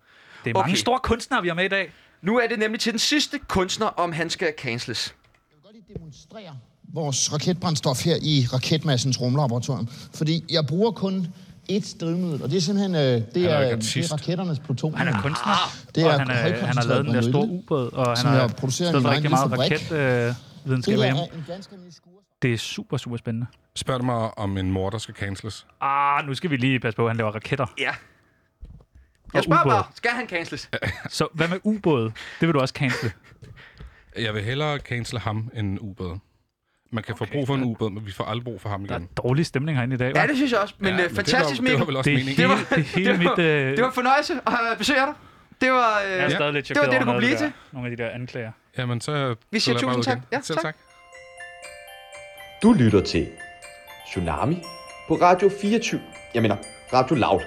Det er mange
Okay.
store kunstnere, vi har med i dag.
Nu er det nemlig til den sidste kunstner, om han skal canceles.
demonstrere vores raketbrændstof her i raketmassens rumlaboratorium. Fordi jeg bruger kun ét drivmiddel, og det er simpelthen øh, det,
er
er,
jo
det
ikke
er
artist.
raketterne plutonium.
Han er kunstner,
det
og
er
han, er, han har
højkoncentreret
lavet den der store
brændeolie,
ubåd, og han
som
har
jeg producerer i
stået for
min
rigtig
egen
meget
lille fabrik.
raketvidenskab
Det er
øh, hjemme.
en ganske almindelig skur.
Det er super, super spændende.
Spørg dig mig, om en mor, der skal canceles.
Ah, nu skal vi lige passe på, at han laver raketter.
Ja.
Og
Jeg spørger
ubåd.
bare, skal han canceles?
Så hvad med ubåde? Det vil du også cancele.
Jeg vil hellere cancel ham end en ubåd. Man kan okay, få brug for en ubåd, men vi får aldrig brug for ham
Der
igen.
er dårlig stemning herinde i dag, hva'?
Ja, det synes jeg også. Men, ja, men øh, fantastisk,
det var, det var
Mikkel.
vel også
Det er
meningen.
helt- det
Det var,
er hele
det var,
mit, øh,
det var en fornøjelse at øh, besøge dig. Det var, øh,
Jeg er
ja.
stadig lidt
det, var
chokeret
det, du
over noget
kunne blive
af
til.
det der- Nogle af de der anklager.
Jamen, så...
Vi siger
så lad mig
tusind
ud igen.
tak. Ja,
Selv
tak.
tak.
Du lytter til Tsunami på Radio 24. Jeg mener, Radio Loud.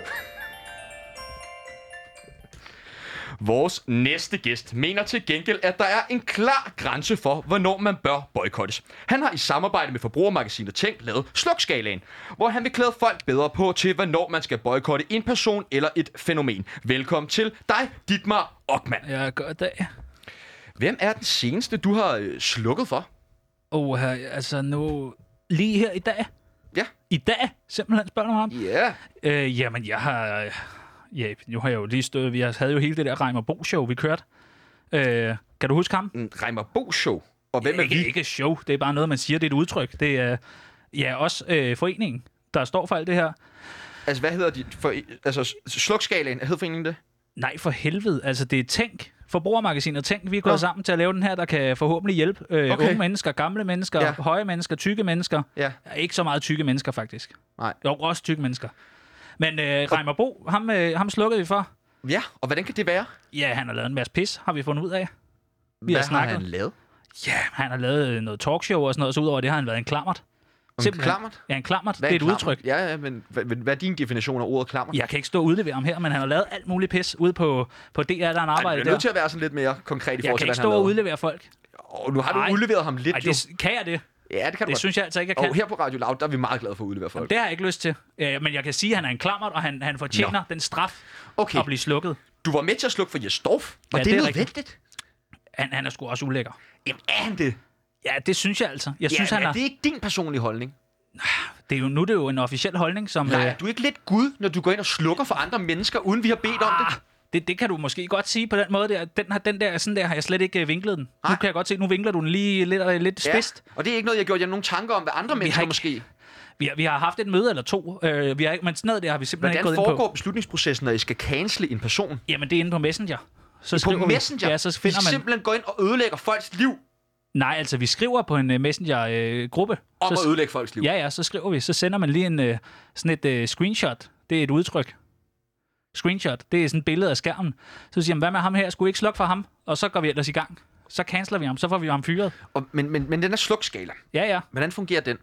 Vores næste gæst mener til gengæld, at der er en klar grænse for, hvornår man bør boykottes. Han har i samarbejde med forbrugermagasinet Tænk lavet Slukskalaen, hvor han vil klæde folk bedre på til, hvornår man skal boykotte en person eller et fænomen. Velkommen til dig, Dietmar Ockmann.
Ja, god dag.
Hvem er den seneste, du har øh, slukket for?
Åh, altså nu... Lige her i dag?
Ja.
I dag? Simpelthen spørger du ham?
Ja. Yeah.
Øh, jamen, jeg har... Ja, nu har jeg jo lige stået... Vi havde jo hele det der Reimer Bo-show, vi kørte. Øh, kan du huske ham?
Reimer Bo Show. Og hvem er
ikke,
vi?
ikke show, det er bare noget, man siger, det er et udtryk. Det er ja, også øh, foreningen, der står for alt det her.
Altså, hvad hedder de? For, altså, s- slukskalaen, hed foreningen det?
Nej, for helvede. Altså, det er Tænk, forbrugermagasinet Tænk. Vi er gået
Nå.
sammen til at lave den her, der kan forhåbentlig hjælpe øh,
Okay.
okay. unge mennesker, gamle mennesker,
Ja.
ja. høje mennesker, tykke mennesker.
Ja.
Ja, Ikke så meget tykke mennesker, faktisk.
Nej.
Jo, også tykke mennesker. Men øh, Reimer Bo, ham, øh, ham slukkede vi for.
Ja, og hvordan kan det være?
Ja, han har lavet en masse pis, har vi fundet ud af.
Hvad
har snakket.
har han lavet?
Ja, han har lavet øh, noget talkshow og sådan noget, så udover det har han været en klammert.
En klammert?
Ja, en klammert.
Hvad
det er et
klammer?
udtryk.
Ja, ja, men hvad, hvad er din definition af ordet klammer?
Jeg kan ikke stå og udlevere ham her, men han har lavet alt muligt pis ude på, på DR, der er en
Ej, du
arbejde
er
der.
nødt til at være sådan lidt mere konkret i
jeg kan
forhold til,
ikke
hvad
stå
han
og
lavede.
udlevere folk.
Og nu har du
Ej.
udleveret ham lidt,
Ej,
jo.
det, kan jeg det?
Ja, det kan du
Det synes jeg altså ikke, jeg kan.
Og her på Radio Loud, der er vi meget glade for at udlevere folk.
Det har jeg ikke lyst til. Øh, men jeg kan sige, at han er en klammert, og han, han fortjener
Nå.
den straf
Okay.
at blive slukket.
Du var med til at slukke for Jesdorf, og
Ja,
det
det
er
er rigtigt.
nødvendigt.
Han, han er sgu også ulækker.
Jamen, er han det?
Ja, det synes jeg altså. Jeg synes,
ja,
han
er
er...
det ikke din personlige holdning?
Det er jo, nu er det jo en officiel holdning, som...
Nej,
øh,
er du ikke lidt Gud, når du går ind og slukker for andre mennesker, uden vi har bedt om det?
det, det kan du måske godt sige på den måde der. Den, har, den der, sådan der har jeg slet ikke øh, vinklet den. Nu kan jeg godt se, nu vinkler du den lige lidt, øh, lidt spidst.
Ja. Og det er ikke noget, jeg har gjort jer nogen tanker om, hvad andre mennesker
ikke-
måske...
Vi har, vi har haft et møde eller to, øh, vi har ikke, men sådan noget der har vi simpelthen
Hvordan
ikke gået
foregår
ind
beslutningsprocessen, når I skal cancele en person?
på. Jamen, det er inde på Messenger. Så
på
skriver
Messenger?
Vi, ja, så finder
I
man...
simpelthen går ind og ødelægger folks liv
Nej, altså, vi skriver på en uh, Messenger-gruppe.
om at ødelægge folks liv.
Ja, ja, så skriver vi. Så sender man lige en, øh, sådan et øh, screenshot. Det er et udtryk. Screenshot. Det er sådan et billede af skærmen. Så siger man, hvad med ham her? Skulle vi ikke slukke for ham? Og så går vi ellers i gang. Så canceler vi ham. Så får vi ham fyret.
Og, men, men, men den er slukskala.
Ja, ja.
Hvordan fungerer den?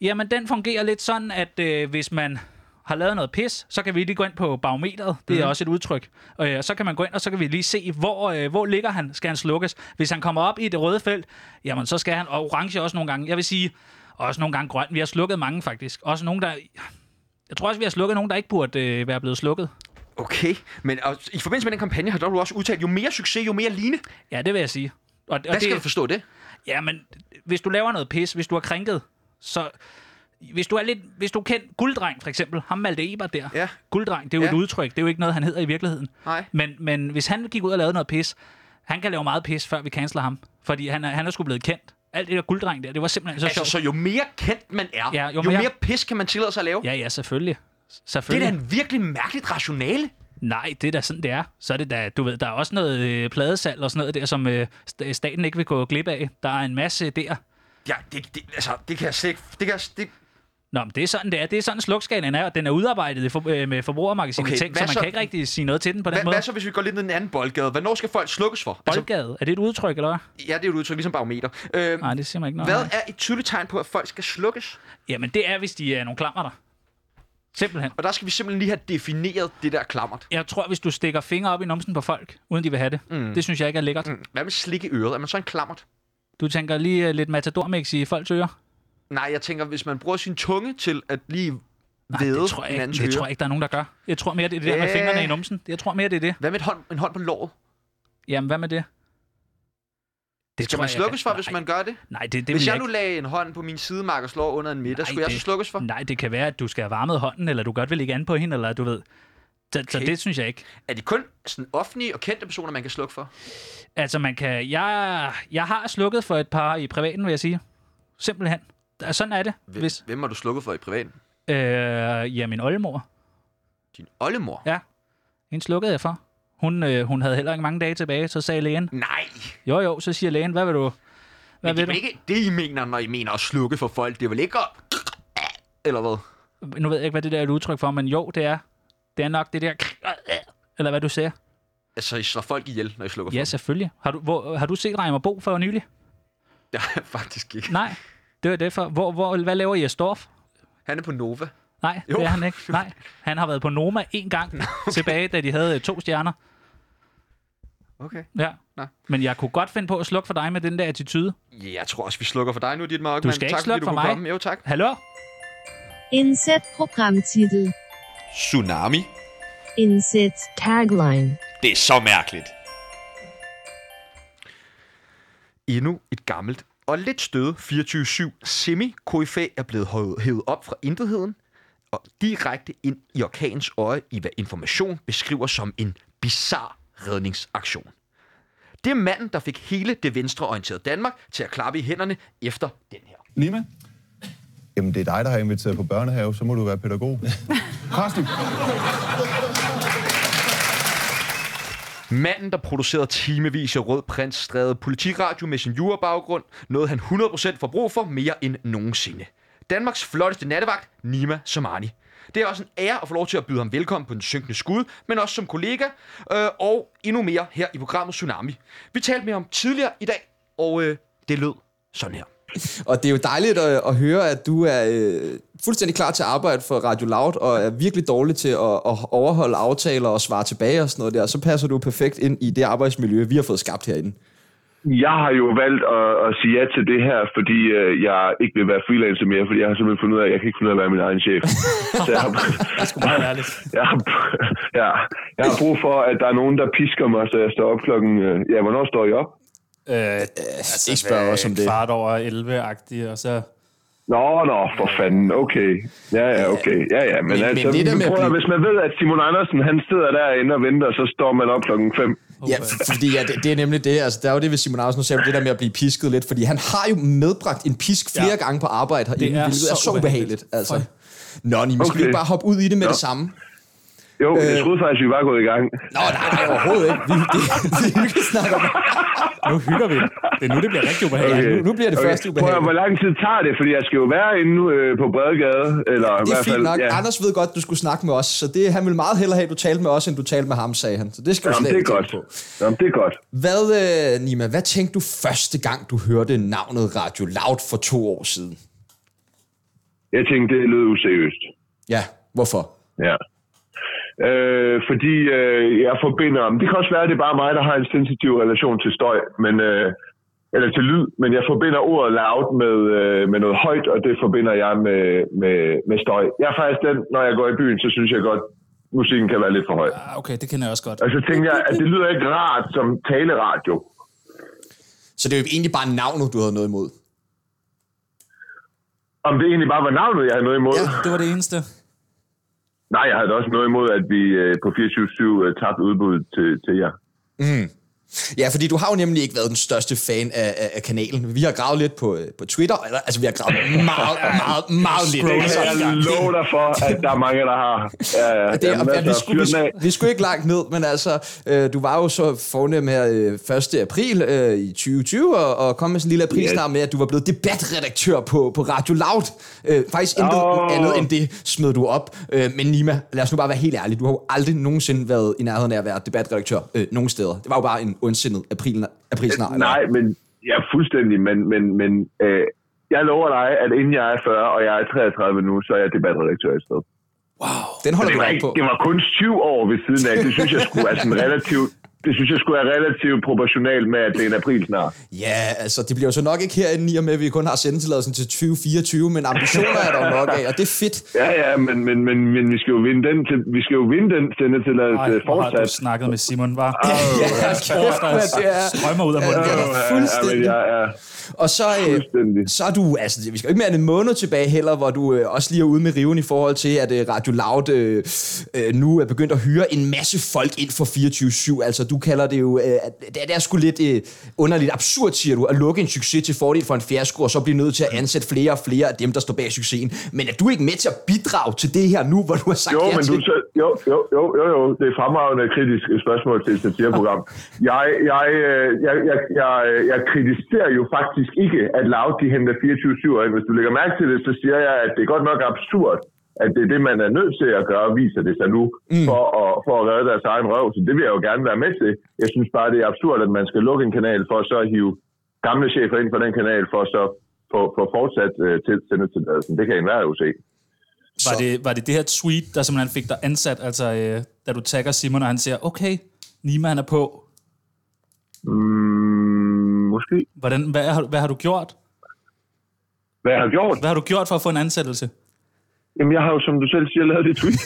Jamen, den fungerer lidt sådan, at øh, hvis man har lavet noget pis, så kan vi lige gå ind på barometeret. Det er
Mhm.
også et udtryk. Og øh, så kan man gå ind, og så kan vi lige se, hvor, øh, hvor ligger han? Skal han slukkes? Hvis han kommer op i det røde felt, jamen så skal han, og orange også nogle gange. Jeg vil sige, også nogle gange grøn. Vi har slukket mange faktisk. Også nogle, der... Jeg tror også, vi har slukket nogen, der ikke burde øh, være blevet slukket.
Okay, men og, i forbindelse med den kampagne har du også udtalt, jo mere succes, jo mere line.
Ja, det vil jeg sige. Og, og
Hvad skal du forstå det?
Jamen, hvis du laver noget pis, hvis du har krænket, så... Hvis du er lidt... Hvis du er kendt gulddreng, for eksempel. Ham Malte Eber der.
Ja.
Gulddreng, det er jo
Ja.
ja. et udtryk. Det er jo ikke noget, han hedder i virkeligheden.
Nej.
Men, men hvis han gik ud og lavede noget pis, han kan lave meget pis, før vi canceler ham. Fordi han er, han er sgu blevet kendt. Alt det der gulddreng der, det var simpelthen så
altså,
sjovt.
så jo mere kendt man er,
Ja, jo
jo, jo mere...
mere-
pis kan man tillade sig at lave.
Ja, ja, selvfølgelig.
det er
selvfølgelig.
da en virkelig mærkeligt rationale.
Nej, det er da sådan, det er. Så er det da, du ved, der er også noget øh, pladesalg og sådan noget der, som øh, st- staten ikke vil gå glip af. Der er en masse der.
Ja, det, det, altså, det kan jeg slet ikke... Det kan jeg, det,
Nå, men det er sådan, det er. Det er sådan, slukskalaen er, og den er udarbejdet i for, øh, med forbrugermagasinet
Okay,
okay, ting,
hvad
så man
så-
kan ikke rigtig sige noget til den på den
hvad,
måde.
hvad så, altså- hvis vi går lidt ned i en anden boldgade? Hvornår skal folk slukkes for?
Boldgade, er det et udtryk, eller hvad?
Altså, ja, det er jo et udtryk, ligesom barometer. Øh,
Ah, Nej, det siger man ikke noget.
hvad
om.
er et tydeligt tegn på, at folk skal slukkes?
Jamen, det er, hvis de er nogle klammer der. Simpelthen.
Og der skal vi simpelthen lige have defineret det der klammert.
Jeg tror, hvis du stikker fingre op i numsen på folk, uden de vil have det,
Mm.
mm. det synes jeg ikke er lækkert.
Mm. Hvad med slik i øret? Er man så en klammert?
Du tænker lige øh, lidt matadormix i folks ører?
Nej, jeg tænker, hvis man bruger sin tunge til at lige
Nej,
væde
det tror jeg
hinandens
ikke, det
ører.
tror jeg ikke, der er nogen, der gør. Jeg tror mere, det er det der med
Ja.
fingrene i numsen. Jeg tror mere, det er det.
Hvad med et hånd, en hånd på låret?
Jamen, hvad med det? Det
Skal
tror
man
jeg, jeg
slukkes
kan-
for, hvis man gør det?
Nej, det, det vil
Hvis jeg
ikke.
nu lagde en hånd på min sidemark og slår under en middag,
Nej,
skulle jeg så
det-
slukkes for?
Nej, det kan være, at du skal have varmet hånden, eller du godt vil ligge an på hende, eller du ved. Så, okay. så
Okay.
det synes jeg ikke.
Er det kun sådan offentlige og kendte personer, man kan slukke for?
Altså, man kan... Jeg, jeg har slukket for et par i privaten, vil jeg sige. Simpelthen. Og Sådan er det.
Hvem,
Hvis,
hvem har du slukket for i privaten?
øh, ja, min oldemor.
Din oldemor?
Ja. Hende slukkede jeg for. Hun, øh, hun havde heller ikke mange dage tilbage, så sagde lægen.
Nej,
Jo, jo, så siger lægen, hvad vil du... Hvad
men det
vil
er
du?
vel ikke det, I mener, når I mener at slukke for folk. Det er vel ikke at... Eller hvad?
Nu ved jeg ikke, hvad det der er et udtryk for, men jo, det er, det er nok det der... Eller hvad du siger.
Altså, I slår folk ihjel, når I slukker
Ja, selvfølgelig. Har du, hvor, har du set Reimer Bo for nylig?
for folk. Ja, faktisk ikke.
Nej, det var det for. Hvor, hvor, hvad laver I Storf?
Han er på Nova.
Nej,
Jo.
jo. det er han ikke. Nej, han har været på Noma en gang tilbage, da de havde øh, to stjerner.
Okay.
Ja.
Nå.
Men jeg kunne godt finde på at slukke for dig med den der attitude.
Ja, jeg tror også, vi slukker for dig nu, dit mørke.
Du skal ikke
tak, fordi
slukke
du
for
kunne
mig.
Komme. Jo, tak.
Hallo?
Inset Programmtitel.
Tsunami.
Inset Tagline.
Det er så mærkeligt.
Endnu et gammelt og lidt støde 24-7 semi er blevet højet- hævet op fra intetheden og direkte ind i orkanens øje i hvad information beskriver som en bizar redningsaktion. Det er manden, der fik hele det venstreorienterede Danmark til at klappe i hænderne efter den her.
Nima? Jamen, det er dig, der har inviteret på børnehave, så må du være pædagog. Karsten!
Manden, der producerede timevis af rød prins, strædede politiradio med sin jurabaggrund, noget han 100% får brug for mere end nogensinde. Danmarks flotteste nattevagt, Nima Somani. Det er også en ære at få lov til at byde ham velkommen på den synkende skud, men også som kollega, øh, og endnu mere her i programmet Tsunami. Vi talte med ham tidligere i dag, og øh, det lød sådan her.
Og det er jo dejligt at, at høre, at du er øh, fuldstændig klar til at arbejde for Radio Loud, og er virkelig dårlig til at, at overholde aftaler og svare tilbage og sådan noget der. Så passer du perfekt ind i det arbejdsmiljø, vi har fået skabt herinde.
Jeg har jo valgt at, at sige ja til det her, fordi øh, jeg ikke vil være freelancer mere, fordi jeg har simpelthen fundet ud af, at jeg kan ikke finde ud af at være min egen chef. Så jeg har,
Det er sgu meget ærligt.
jeg, har, ja, jeg har brug for, at der er nogen, der pisker mig, så jeg står op klokken... Øh, ja, hvornår står I op?
Øh, altså,
ikke spørg
hvad,
os om det.
Kvart over 11-agtig, og så...
Nå, nå, for fanden, okay. Ja, ja, okay. Ja, ja, men,
Men-
men altså,
men det der med at
prøv, at
blive-
hvis man ved, at Simon Andersen, han sidder derinde og venter, så står man op klokken 5.
Ja, f- fordi ja, det, det er nemlig det. Altså, der er jo det, hvis Simon Andersen nu sagde, det der med at blive pisket lidt, fordi han har jo medbragt en pisk flere ja. gange på arbejde herinde,
Det er
hvilket er
så
så ubehageligt. Altså. Nå, Nima, okay. skal
Okay.
vi ikke bare hoppe ud i det med
Nå.
det samme? Øh.
Jo, jeg troede faktisk, vi var gået i gang.
Nå, nej, nej, overhovedet ikke. Vi, det, vi kan snakke om.
Nu hygger vi. Det er nu, det bliver rigtig ubehageligt.
Okay.
Nu, nu bliver det okay. første
Prøv at, høre,
ubehageligt.
hvor lang tid tager det? Fordi jeg skal jo være inde øh, på Bredegade. Eller i
Det er
hvert
fint
fald,
nok. Ja. Anders ved godt, du skulle snakke med os, så det, han vil meget hellere have, at du talte med os, end du talte med ham, sagde han. Så det skal du
Jamen,
slet
det er
ikke tænke
godt. Jamen, det er godt.
Hvad, øh, Nima, hvad tænkte du første gang, du hørte navnet Radio Loud for to år siden?
Jeg tænkte, det lød useriøst.
Ja, hvorfor?
Ja. Øh, fordi øh, jeg forbinder... men Det kan også være, at det er bare mig, der har en sensitiv relation til støj, men, øh, eller til lyd, men jeg forbinder ordet loud med, øh, med noget højt, og det forbinder jeg med, med, med støj. Jeg er faktisk den, når jeg går i byen, så synes jeg godt, musikken kan være lidt for høj.
Ah, Okay, det kender jeg også godt.
Og så tænker jeg, at det lyder ikke rart som taleradio.
Så det er jo egentlig bare navnet, du havde noget imod.
Om det egentlig bare var navnet, jeg havde noget imod.
Det var det eneste.
Nej, jeg havde da også noget imod, at vi øh, på 24-7 øh, tabte udbuddet til, til jer.
Mm. Ja, fordi du har jo nemlig ikke været den største fan af, af, af kanalen. Vi har gravet lidt på, øh, på Twitter, eller, altså vi har gravet meget, meget, meget lidt.
Det
Altså,
kan jeg love dig for, at der er mange, der har. Ja, ja,
Ja, det,
Jamen,
er, ja, vi,
altså,
skulle,
fyr
vi,
den af.
skulle- vi skulle ikke langt ned, men altså, øh, du var jo så fornem her øh, 1. april øh, i 2020, og, og kom med sådan en lille aprilsnar med, at du var blevet debatredaktør på, på Radio Loud. Øh, faktisk intet
Åh.
andet end det smed du op. Øh, men Nima, lad os nu bare være helt ærlig, du har jo aldrig nogensinde været i nærheden af at være debatredaktør øh, nogen steder. Det var jo bare en ondsindet april, aprilsnar. eller?
Nej, men ja, fuldstændig, men, men, men øh, jeg lover dig, at inden jeg er 40, og jeg er 33 nu, så er jeg debatredaktør i stedet.
Den holder
det
vi
var,
dig
ikke,
på.
det var kun 20 år ved siden af. Det synes jeg skulle være sådan relativt... Det synes jeg skulle være relativt proportionalt med, at det er en april snart.
Ja, altså det bliver jo så nok ikke herinde i og med, at vi kun har sendetilladelsen til 2024, men ambitioner er der jo nok af, og det er fedt.
Ja, ja, men, men, men, men vi skal jo vinde den, til, vi skal jo vinde den
Ej,
sendetilladelse
hvor har du
fortsat.
snakket med Simon, var?
Ja,
strømmer ud af munden.
Ja,
Åh, ja, ja,
fuldstændig.
Ja, ja.
Og så, øh, så er du, altså vi skal jo ikke mere end en måned tilbage heller, hvor du øh, også lige er ude med riven i forhold til, at øh, Radio Loud øh, øh, nu er begyndt at hyre en masse folk ind for 24-7. Altså du kalder det jo, øh, at det, det er sgu lidt øh, underligt absurd, siger du, at lukke en succes til fordel for en fiasko, og så blive nødt til at ansætte flere og flere af dem, der står bag succesen. Men er du ikke med til at bidrage til det her nu, hvor du har sagt
Jo,
ja
men
til
du, så, jo, jo, jo, jo, jo, det er fremragende kritisk spørgsmål til et satireprogram. Jeg, jeg, øh, jeg, jeg, jeg, jeg kritiserer jo faktisk ikke, at Loud de henter 24-7 ind. Hvis du lægger mærke til det, så siger jeg, at det er godt nok absurd, at det er det, man er nødt til at gøre, viser det sig nu, mm. for, at, for at redde deres egen røv. Så det vil jeg jo gerne være med til. Jeg synes bare, det er absurd, at man skal lukke en kanal for så at hive gamle chefer ind på den kanal, for så på, på fortsat øh, til, sendetilladelsen. Det kan enhver jo se.
Var det, var det det her tweet, der simpelthen fik dig ansat, altså øh, da du tagger Simon, og han siger, okay, Nima han er på.
Mm, måske.
Hvordan, hvad, har, hvad har du gjort?
Hvad har jeg gjort?
Hvad har du gjort for at få en ansættelse?
Jamen, jeg har jo, som du selv siger, lavet det tweet.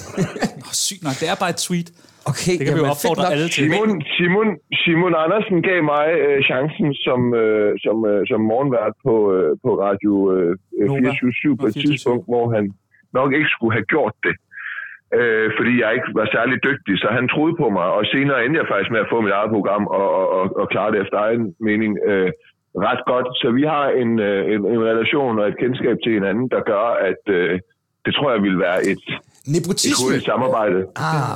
Nå, sygt nok, det er bare et tweet.
Okay,
det kan vi jo opfordre alle til.
Simon, Simon, Simon Andersen gav mig øh, chancen som, øh, som, øh, som morgenvært på, øh, på Radio øh, øh, 24 på et tidspunkt, hvor han nok ikke skulle have gjort det. Øh, fordi jeg ikke var særlig dygtig, så han troede på mig. Og senere endte jeg faktisk med at få mit eget program og, og, og, og klare det efter egen mening øh, ret godt. Så vi har en, øh, en, en relation og et kendskab til hinanden, der gør, at øh, det tror jeg ville være et, et
Nepotisme.
hurtigt samarbejde.
Ah,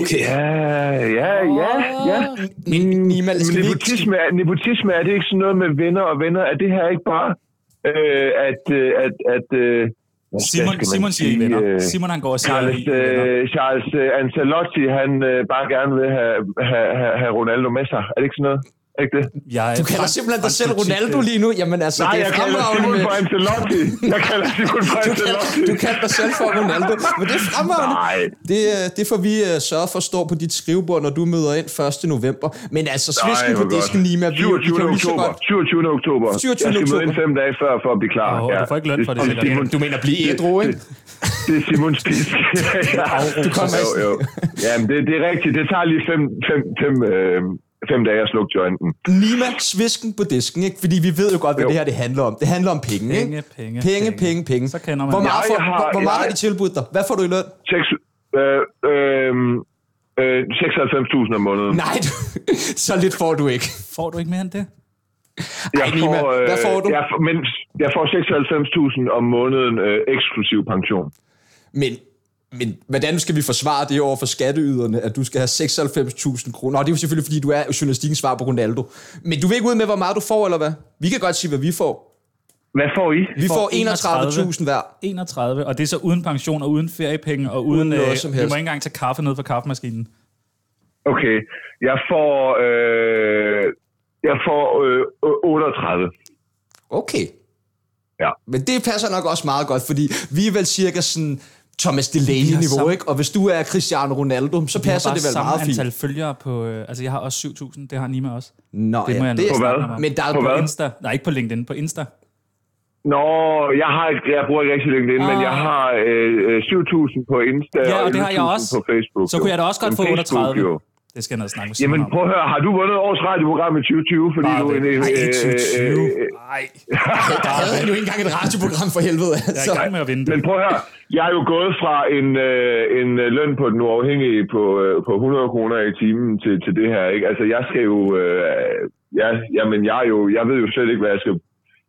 okay.
Ja, ja, ja, ja.
Nima,
Men nepotisme, er, nepotisme, er det ikke sådan noget med venner og venner? Er det her ikke bare, øh, at... Øh, at, at øh, hvad
Simon-
skal man
Simon siger, I
sige,
venner.
øh,
Simon, han går og siger,
Charles,
I venner.
øh, Charles øh, Ancelotti, han øh, bare gerne vil have, have, have, have Ronaldo med sig. Er det ikke sådan noget? Er Ikke det?
Jeg
Du kalder simpelthen dig selv Ronaldo lige nu. Jamen altså,
Nej,
det er
jeg kalder
fremragende.
Simon for
med-
Ancelotti. Jeg kalder Simon for
Du kalder-
Ancelotti.
Du kalder dig selv for Ronaldo. Men det er fremragende. Det, øh, det får vi uh, sørge for at stå på dit skrivebord, når du møder ind 1. november. Men altså, svisken
hvor
på disken, Nima. Vi,
27.
vi kan jo lige så
oktober.
godt...
27. oktober. Jeg
27.
skal møde ind
oktober.
fem dage før, for at blive klar.
Åh, du får ikke løn for det,
er
sikkert. Du mener blive
det-
ædru, ikke?
det- Det er Simons pisk. ja.
Du kommer
jo,
ikke.
jo. Jamen, det, det er rigtigt. Det tager lige fem, fem, fem, øh, fem dage at slukke jointen.
Nima, svisken på disken, ikke? Fordi vi ved jo godt, hvad det her det handler om. Det handler om penge, ikke?
Penge, penge,
penge, penge, penge. Så
kender
Hvor meget,
Jeg
får,
har-
hvor, hvor meget
jeg-
har de tilbudt dig? Hvad får du i løn?
Seks, øh, øh, øh, 96.000 om måneden.
Nej, du, så lidt får du ikke.
Får du ikke mere end det?
Jeg øh,
Ej, Nima, hvad får du?
Jeg, får- men jeg får 96.000 om måneden øh, eksklusiv pension.
Men, men hvordan skal vi forsvare det over for skatteyderne, at du skal have 96.000 kroner? Og det er jo selvfølgelig, fordi du er journalistikken svar på Ronaldo. Men du vil ikke ud med, hvor meget du får, eller hvad? Vi kan godt sige, hvad vi får.
Hvad får I?
Vi får 31.000 hver.
31, og det er så uden pension og uden feriepenge og uden...
Uden noget
øh,
som
vi må
helst.
ikke engang tage kaffe ned fra kaffemaskinen.
Okay, jeg får, øh, jeg får øh, o- 38.
Okay.
Ja.
Men det passer nok også meget godt, fordi vi er vel cirka sådan Thomas
Vi har
Delaney-niveau,
samme-
ikke? Og hvis du er Cristiano Ronaldo, så passer
vi har bare
det vel
samme
meget
antal
fint.
følgere på... Øh, altså, jeg har også 7.000, det har Nima også.
Nå,
det må
ja,
jeg
det er-
nok
På
snakke
hvad?
om.
Men der er-
på,
På
på
hvad?
Insta. Nej, ikke på LinkedIn, på Insta.
Nå, jeg, har, ikke- jeg bruger ikke rigtig LinkedIn, men
Ah.
jeg har øh, øh, 7.000 på Insta
Ja, og det har jeg
11.000
også.
på Facebook.
Så kunne
jo.
jeg da også godt
Men
få
Facebook
38.
jo.
Det skal jeg ned og snakke med Simon
Jamen
om.
prøv at høre, har du vundet årets radioprogram i 2020? Fordi
Bare
du er en,
vent.
øh,
Ej, ikke
øh,
2020.
øh,
Nej.
Der havde han jo ikke engang et radioprogram for helvede.
Jeg
Altså.
er i gang med at vinde det.
Men prøv at høre, jeg er jo gået fra en, øh, en øh, løn på den uafhængige på, øh, på 100 kroner i timen til, til det her. Ikke? Altså jeg skal jo, øh, ja, jamen jeg, er jo, jeg ved jo slet ikke, hvad jeg skal...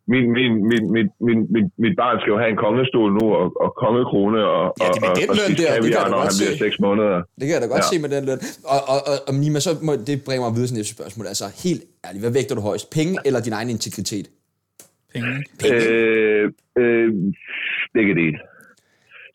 Min, min, min, min, min, min, mit barn skal jo have en kongestol nu, og, og kongekrone, og, ja,
det er med
og,
den
og,
løn
spise
der, det kan jeg
kaviar,
da
når
godt
han bliver
se.
6 måneder.
Det kan jeg da godt
Ja.
ja. se med den løn. Og, og, og, og Nima, så må, det bringer mig videre til næste spørgsmål. Altså, helt ærligt, hvad vægter du højst? Penge eller din egen integritet?
Penge.
Øh, øh, begge dele.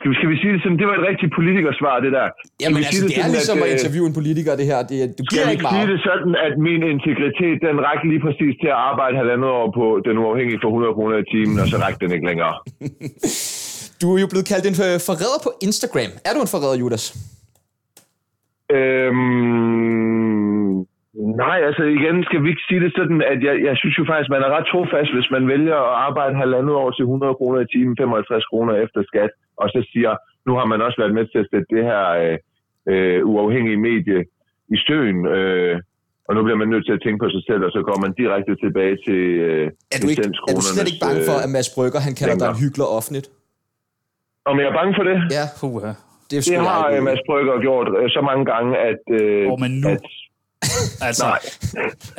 Skal vi, skal vi sige det sådan, det var et rigtigt politikersvar, det der. Skal
Jamen
vi sige
altså, det, er
sådan,
ligesom at
øh,
interviewe en politiker, det her. Det, er- du
Skal
giver
jeg
ikke
ikke sige
meget.
det sådan, at min integritet, den rækker lige præcis til at arbejde halvandet år på den uafhængige for 100 kroner i timen, og så rækker den ikke længere.
Du er jo blevet kaldt en øh, forræder på Instagram. Er du en forræder, Judas?
Øhm, nej, altså igen, skal vi ikke sige det sådan, at jeg, jeg synes jo faktisk, man er ret trofast, hvis man vælger at arbejde halvandet år til 100 kroner i timen, 55 kroner efter skat, og så siger, nu har man også været med til at sætte det her øh, øh, uafhængige medie i støen, øh, og nu bliver man nødt til at tænke på sig selv, og så går man direkte tilbage til øh,
Er du, ikke, er du slet ikke bange for, at Mads Brygger, han kalder dig en
længere.
hyggelig offentligt?
Om jeg er bange for det?
Ja.
Puha.
Det, er sgu
Det
da
har
ikke-
øh, Mads Brygger gjort øh, så mange gange, at... Øh,
Åh, men nu-
at
Altså,
Nej.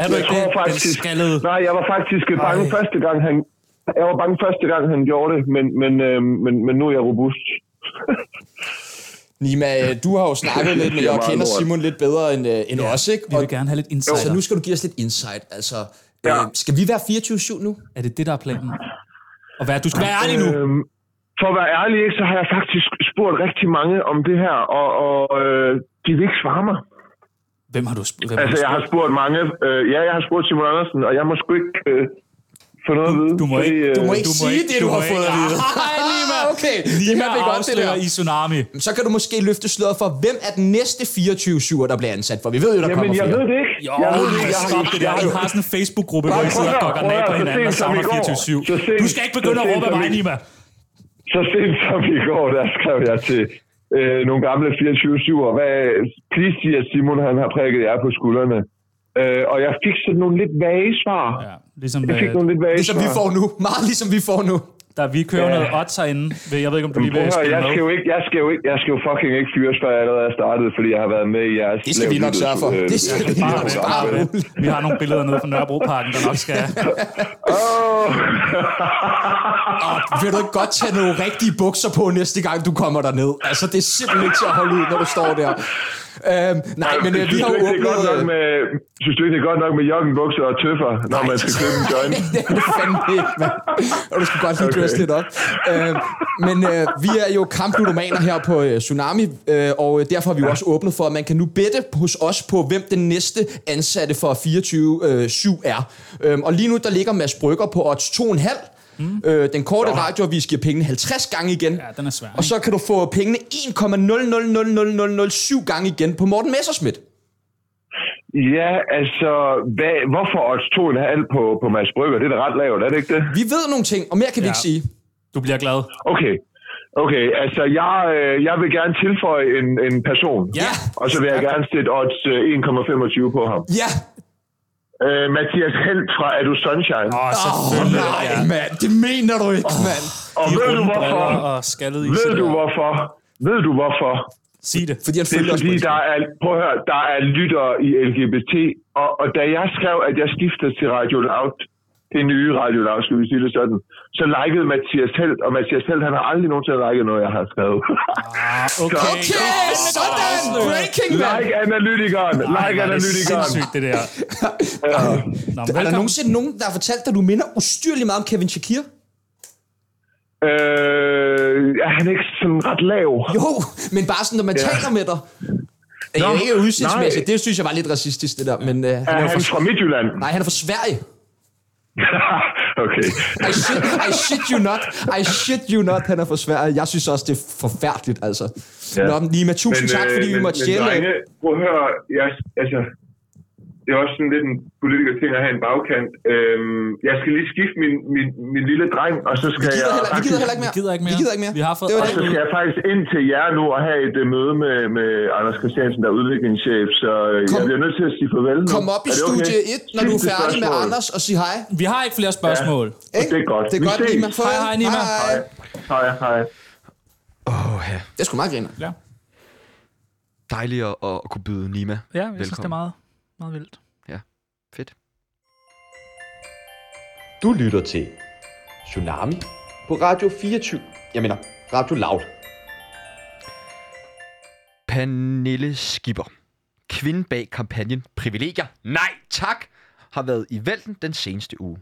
er du
Jeg
ikke
tror
det, den
faktisk-
skaldede...
Nej, jeg var faktisk øh, bange Ej. første gang, han... Jeg var bange første gang, han gjorde det, men, men, øh, men, men nu er jeg robust.
Nima, øh, du har jo snakket lidt,
Det
men
er
jeg
meget
kender
lort.
Simon lidt bedre end, øh, end ja, os, ikke?
Vi vil gerne have lidt Altså, insight.
Så nu skal du give os lidt insight. Altså, ja. øh, skal vi være 24-7 nu?
Er det det, der er planen? Og hvad, du skal være ærlig nu.
Øhm, for at være ærlig, ikke, så har jeg faktisk spurgt rigtig mange om det her, og, og øh, de vil ikke svare mig.
Hvem har du sp- hvem
Altså, jeg
har
har spurgt mange. Øh, ja, jeg har spurgt Simon Andersen, og jeg må sgu ikke øh, få noget at vide.
du må
fordi, øh,
ikke-
Du må ikke
Du må
sige
ikke-
det, du,
du
har
må
fået
ikke-
at vide. Ah,
Ej, Nima.
okay. det
Nima
kan vi godt, det der.
afslører i Tsunami.
Så kan du måske løfte sløret for, hvem er den næste 24-7'er, der bliver ansat? For vi ved jo, der
Jamen,
kommer
jeg
flere.
ved det ikke.
Jo,
jeg ved det ikke. Jeg har,
stop det der.
jeg har,
I har sådan en Facebook-gruppe, hvor I sidder og gokker nab på hinanden og samler 24-7. Du skal ikke begynde at råbe af mig, Nima.
Så sent som i går, der skrev jeg til øh, nogle gamle 24-7'ere, hvad, please sig, at Simon han har prikket jer på skuldrene. Øh, og jeg fik sådan nogle lidt vage svar. Ja,
Ligesom,
jeg fik
øh,
nogle lidt vage
Ligesom
svar.
vi får nu. Meget ligesom vi får nu.
der vi kører
Ja.
noget odds herinde. Ved- Jeg ved ikke, om du lige
Jamen, prøv
vil
at høre,
spille
jeg
med.
skal, jo ikke, jeg, skal jo ikke, jeg skal jo fucking ikke fyres, før jeg allerede er startet, fordi jeg har været med i jeres...
Det skal vi nok sørge for. Det skal vi
Bare
nok
vent,
sørge
bare
for.
vent. Vi har nogle billeder nede fra Nørrebroparken, der nok skal...
Og vil du ikke godt tage nogle rigtige bukser på næste gang, du kommer derned? Altså, det er simpelthen ikke til at holde ud, når du står der.
Øhm, nej, men øh, vi har jo
ikke, det er godt nok
åbnet...
med, synes du ikke, det er godt nok med joggenbukser og tøffer, når man skal købe en joint?
det er det fandme ikke, mand. Og du skal godt lige
Okay.
dresse lidt op. Øh, men øh, vi er jo kampludomaner her på øh, Tsunami, øh, og øh, derfor har vi jo også åbnet for, at man kan nu bette hos os på, hvem den næste ansatte for 24-7 er. Øh, og lige nu, der ligger Mads Brygger på odds 2,5. Mm. Øh, den korte radioavis giver pengene 50 gange igen. Ja,
den er svær.
Og så kan du få pengene 1,000007 gange igen på Morten Messerschmidt.
Ja, altså, hvad, hvorfor odds 2,5 på, på Mads Brygger? Det er da ret lavt, er det ikke det?
Vi ved nogle ting, og mere kan vi
Ja.
ikke sige.
Du bliver glad.
Okay. Okay, altså jeg, øh, jeg vil gerne tilføje en, en person.
Ja.
Og så vil jeg gerne sætte odds øh, 1,25 på ham.
Ja.
Øh, Mathias Helt fra Er Du Sunshine.
Ah,
Åh, selvfølgelig.
nej,
ja.
mand. Det mener du ikke, mand.
Og
De
ved du
runde
hvorfor?
briller Og skaldet i
Ved du hvorfor? Ved du hvorfor?
Sig det.
Fordi
det er fordi, der er, prøv at høre, der er lyttere i LGBT, og, og da jeg skrev, at jeg skifter til Radio Loud, det nye Radio Loud, skal vi sige det sådan, så likede Mathias Helt, og Mathias Helt, han har aldrig nogensinde liket noget, jeg har skrevet.
Okay,
okay sådan! Breaking, mand!
like analytikeren, like analytikeren.
det der. Nå,
Er der nogensinde nogen, der har fortalt dig, du minder ustyrligt meget om Kevin Shakir?
Øh, er han ikke sådan ret lav?
Jo, men bare sådan, når man
Ja.
taler med dig. Det er
Nå,
jo ikke udsigtsmæssigt.
nej.
Det synes jeg var lidt racistisk, det der. Men, øh, han
Er
jo
han fra Midtjylland?
Nej, han er fra Sverige.
okay.
I shit, I shit you not. I shit you not, han er fra Sverige. Jeg synes også, det er forfærdeligt, altså. Ja. Nå, men Lima, tusind men, tak,
øh,
fordi vi måtte stjæle.
Men drenge, prøv at høre, jeg, altså, det er også sådan lidt en politiker ting at have en bagkant. Øhm, jeg skal lige skifte min, min, min lille dreng, og så skal jeg...
vi gider heller ikke mere.
Vi gider ikke mere.
Vi gider ikke mere.
Vi har fået...
Det var
Og
det.
så skal jeg faktisk ind til jer nu og have et øh, møde med, med Anders Christiansen, der er udviklingschef, så øh, jeg bliver nødt til at sige farvel. nu.
Kom op i
Er det okay?
studie 1, når du er
Sidste
færdig med
spørgsmål.
Anders, og sig hej.
Vi har ikke flere spørgsmål.
Ja, det er godt.
Det er
Vi
godt,
ses.
Lima. Farvel.
Hej, hej, Nima.
Hej.
Hej, hej.
Det er sgu meget griner.
Ja.
Dejligt at, at kunne byde Nima.
Ja, jeg synes, det er meget, meget vildt.
Ja, fedt.
Du lytter til Tsunami på Radio 24. Jeg mener, Radio Loud.
Pernille Skipper. Kvinden bag kampagnen Privilegier. Nej, tak! Har været i vælten den seneste uge.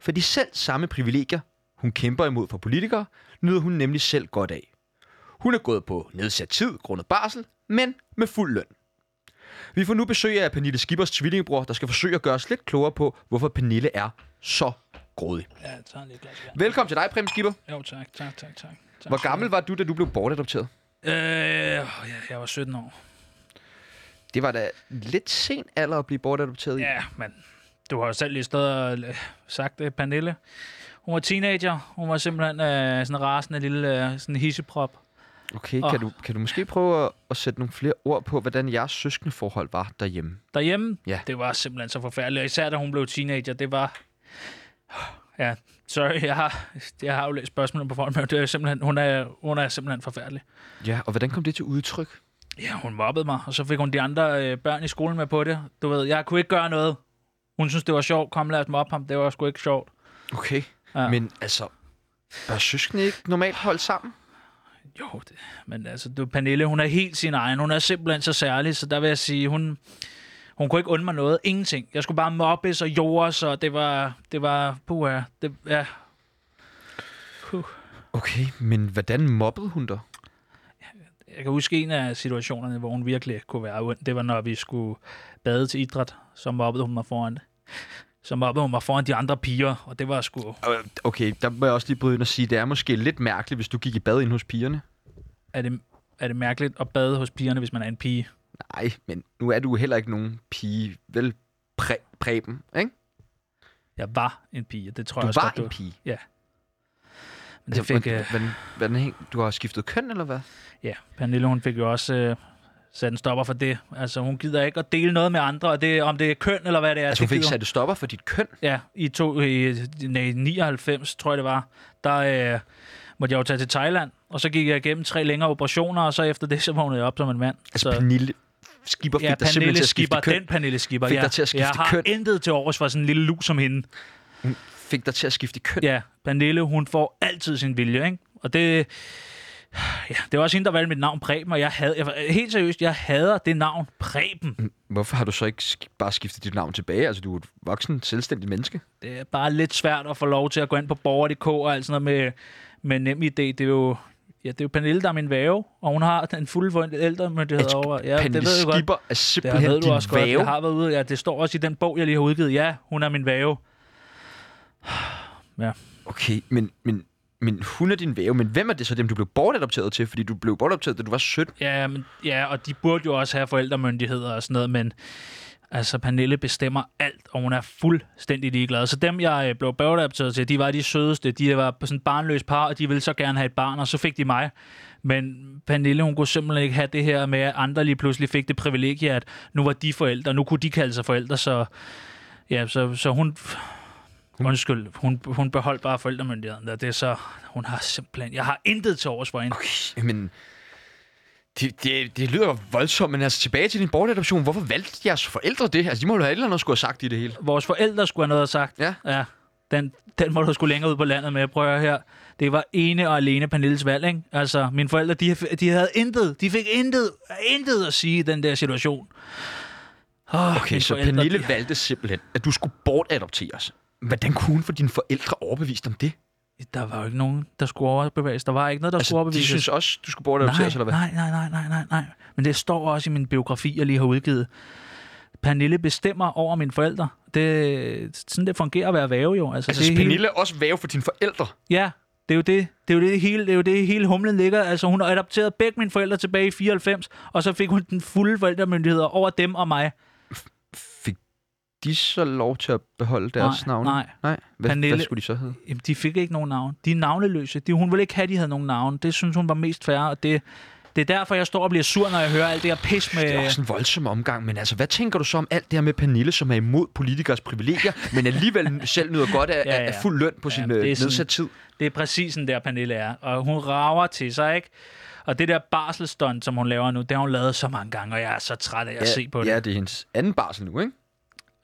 For de selv samme privilegier, hun kæmper imod for politikere, nyder hun nemlig selv godt af. Hun er gået på nedsat tid grundet barsel, men med fuld løn. Vi får nu besøg af Pernille Skippers tvillingebror, der skal forsøge at gøre os lidt klogere på, hvorfor Pernille er så grådig.
Ja, jeg tager lige et glas vand.
Velkommen til dig, Prem Skipper.
Jo, tak, tak, tak, tak. tak.
Hvor gammel var du, da du blev bortadopteret?
Øh, åh, ja, jeg var 17 år.
Det var da lidt sen alder at blive bortadopteret i.
Ja, men du har jo selv lige stået og øh, sagt det, Pernille. Hun var teenager. Hun var simpelthen øh, sådan en rasende lille øh, sådan hisseprop.
Okay,
Og-
kan, du, kan du måske prøve at, at sætte nogle flere ord på, hvordan jeres søskendeforhold var derhjemme?
derhjemme.
Ja.
Det var simpelthen så forfærdeligt. Og Især da hun blev teenager, det var... Ja, sorry, jeg har, jeg har jo læst spørgsmålet på forhånd, men det er simpelthen, hun, er, hun er simpelthen forfærdelig.
Ja, og hvordan kom det til udtryk?
Ja, hun mobbede mig, og så fik hun de andre øh, børn i skolen med på det. Du ved, jeg kunne ikke gøre noget. Hun synes, det var sjovt. Kom, lad os mobbe ham. Det var sgu ikke sjovt.
Okay,
Ja.
men altså, bør søskende ikke normalt holde sammen?
Jo, det, men altså, du, Pernille, hun er helt sin egen. Hun er simpelthen så særlig, så der vil jeg sige, hun, hun kunne ikke undre mig noget. Ingenting. Jeg skulle bare mobbes og jordes, og det var, det var, puha, det, ja. Puh.
Okay, men hvordan mobbede hun dig?
Jeg kan huske en af situationerne, hvor hun virkelig kunne være ond. Det var, når vi skulle bade til idræt, så mobbede hun mig foran så mobbede hun mig foran de andre piger, og det var sgu...
Øh, Okay, der må jeg også lige bryde ind og sige, det er måske lidt mærkeligt, hvis du gik i bad ind hos pigerne.
Er det, er det mærkeligt at bade hos pigerne, hvis man er en pige?
Nej, men nu er du heller ikke nogen pige, vel præ- præben, ikke?
Jeg var en pige, det tror
Du
jeg også
var
godt,
en pige? Altså,
Ja. Men det fik... øh,
hvordan, hvordan, hæng- du har skiftet køn, eller hvad?
Ja, Pernille, hun fik jo også øh, sat en stopper for det. Altså, hun gider ikke at dele noget med andre, og det, om det er køn eller hvad det er.
Altså, hun
det
fik
gider
sat et stopper for dit køn?
Ja, i, to, i, nej, 99, tror jeg det var, der øh, måtte jeg jo tage til Thailand, og så gik jeg igennem tre længere operationer, og så efter det, så vågnede jeg op som en mand.
Altså,
så,
Pernille Skipper fik
ja,
dig simpelthen
Pernille
til at skifte
Skipper,
køn.
den Pernille Skipper,
Fik
ja.
dig til at skifte
jeg har
køn.
intet til overs for sådan en lille luk som hende.
Hun fik dig til at skifte køn.
Ja, Pernille, hun får altid sin vilje, ikke? Og det, Ja, det var også hende, der valgte mit navn Preben, og jeg havde, jeg, var- helt seriøst, jeg hader det navn Preben.
Hvorfor har du så ikke sk- bare skiftet dit navn tilbage? Altså, du er et voksen, selvstændigt menneske.
Det er Øh, bare lidt svært at få lov til at gå ind på borger.dk og alt sådan noget med, med nem idé. Det er jo, ja, det er jo Pernille, der er min værve, og hun har den fulde forældremyndighed over. Ja,
Pernille
det ved jeg
Skipper
godt.
er simpelthen
det ved du
din
også godt.
værge?
Jeg har været ude. Ja, det står også i den bog, jeg lige har udgivet. Ja, hun er min værve. Ja.
Okay, men, men, men hun er din væve, men hvem er det så dem, du blev bortadopteret til? Fordi du blev bortadopteret, da du var 17.
Ja, men, ja, og de burde jo også have forældremyndigheder og sådan noget, men altså, Pernille bestemmer alt, og hun er fuldstændig ligeglad. Så dem, jeg øh, blev bagdapteret til, de var de sødeste. De var på sådan et barnløst par, og de ville så gerne have et barn, og så fik de mig. Men Pernille, hun kunne simpelthen ikke have det her med, at andre lige pludselig fik det privilegie, at nu var de forældre, nu kunne de kalde sig forældre, så, ja, så, så hun... Undskyld, hun, hun beholdt bare forældremyndigheden, og det er så... Hun har simpelthen... Jeg har intet til overs for hende.
Okay, men det, det, det lyder voldsomt, men altså tilbage til din bortadoption. Hvorfor valgte jeres forældre det? Altså, de må jo have et eller andet, der skulle have sagt i det hele.
vores forældre skulle have noget sagt.
Ja.
ja. Den, den må du skulle længere ud på landet med. Prøv at høre her. Det var ene og alene Pernilles valg, ikke? Altså, mine forældre, de, de havde intet. De fik intet, intet at sige i den der situation. Oh,
Okay, så Pernille valgte simpelthen, at du skulle bortadopteres. Hvordan kunne hun få dine forældre overbevist om det?
Der var jo ikke nogen, der skulle overbevises. Der var ikke noget, der altså, skulle
De
overbevises.
synes også, du skulle bortadopteres,
nej,
eller hvad?
Nej, nej, nej, nej, nej, nej. Men det står også i min biografi, jeg lige har udgivet. Pernille bestemmer over mine forældre. Det, sådan det fungerer at være væve jo. Altså,
Altså,
det er
det
helt-
Pernille er også væve for dine forældre.
Ja, det er jo det. Det er jo det hele, det er jo det hele humlen ligger. Altså, hun adopterede begge mine forældre tilbage i 94, og så fik hun den fulde forældremyndighed over dem og mig.
De så lov til at beholde deres
Nej,
navne?
nej.
nej. Hvad,
Pernille-
hvad skulle de så hedde?
Jamen, de fik ikke nogen navn. De er navneløse. De, hun ville ikke have, at de havde nogen navn. Det synes hun var mest færre, og det, det er derfor, jeg står og bliver sur, når jeg hører alt det her pis med...
Det er også en voldsom omgang, men altså, hvad tænker du så om alt det her med Pernille, som er imod politikers privilegier, men alligevel selv nyder godt af, ja, ja. af fuld løn på ja, sin øh,
det er sådan-
nedsat tid?
Det er præcis sådan der, Pernille er. Og hun rager til sig, ikke? Og det der barselstunt, som hun laver nu, det har hun lavet så mange gange, og jeg er så træt af at
ja,
se på det.
Ja, det er hendes anden barsel nu, ikke?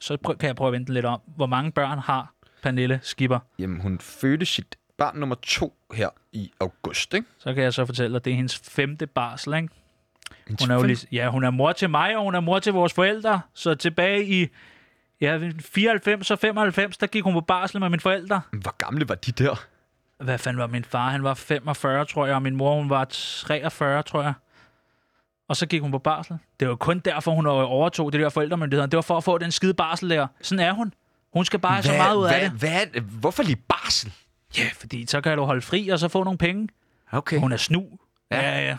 Så prøv, kan jeg prøve at vente lidt om. Hvor mange børn har Pernille Skipper?
Jamen, hun fødte sit barn nummer to her i august, ikke?
Så kan jeg så fortælle dig, at det er hendes femte barsel, ikke?
Hendes
Hun er jo
femte?
lige, ja, hun er mor til mig, og hun er mor til vores forældre. Så tilbage i ja, 94 og 95, der gik hun på barsel med mine forældre.
Hvor gamle var de der?
Hvad fanden var min far? Han var 45, tror jeg, og min mor, hun var 43, tror jeg. Og så gik hun på barsel. Det var kun derfor, hun overtog det der forældremyndighed. Det var for at få den skide barsel der. Sådan er hun. Hun skal bare have så meget ud af det.
hvad, Hvad, hvad, hvorfor lige barsel?
Ja, fordi så kan du holde fri og så få nogle penge.
Okay.
Hun er snu. Ja, ja, ja.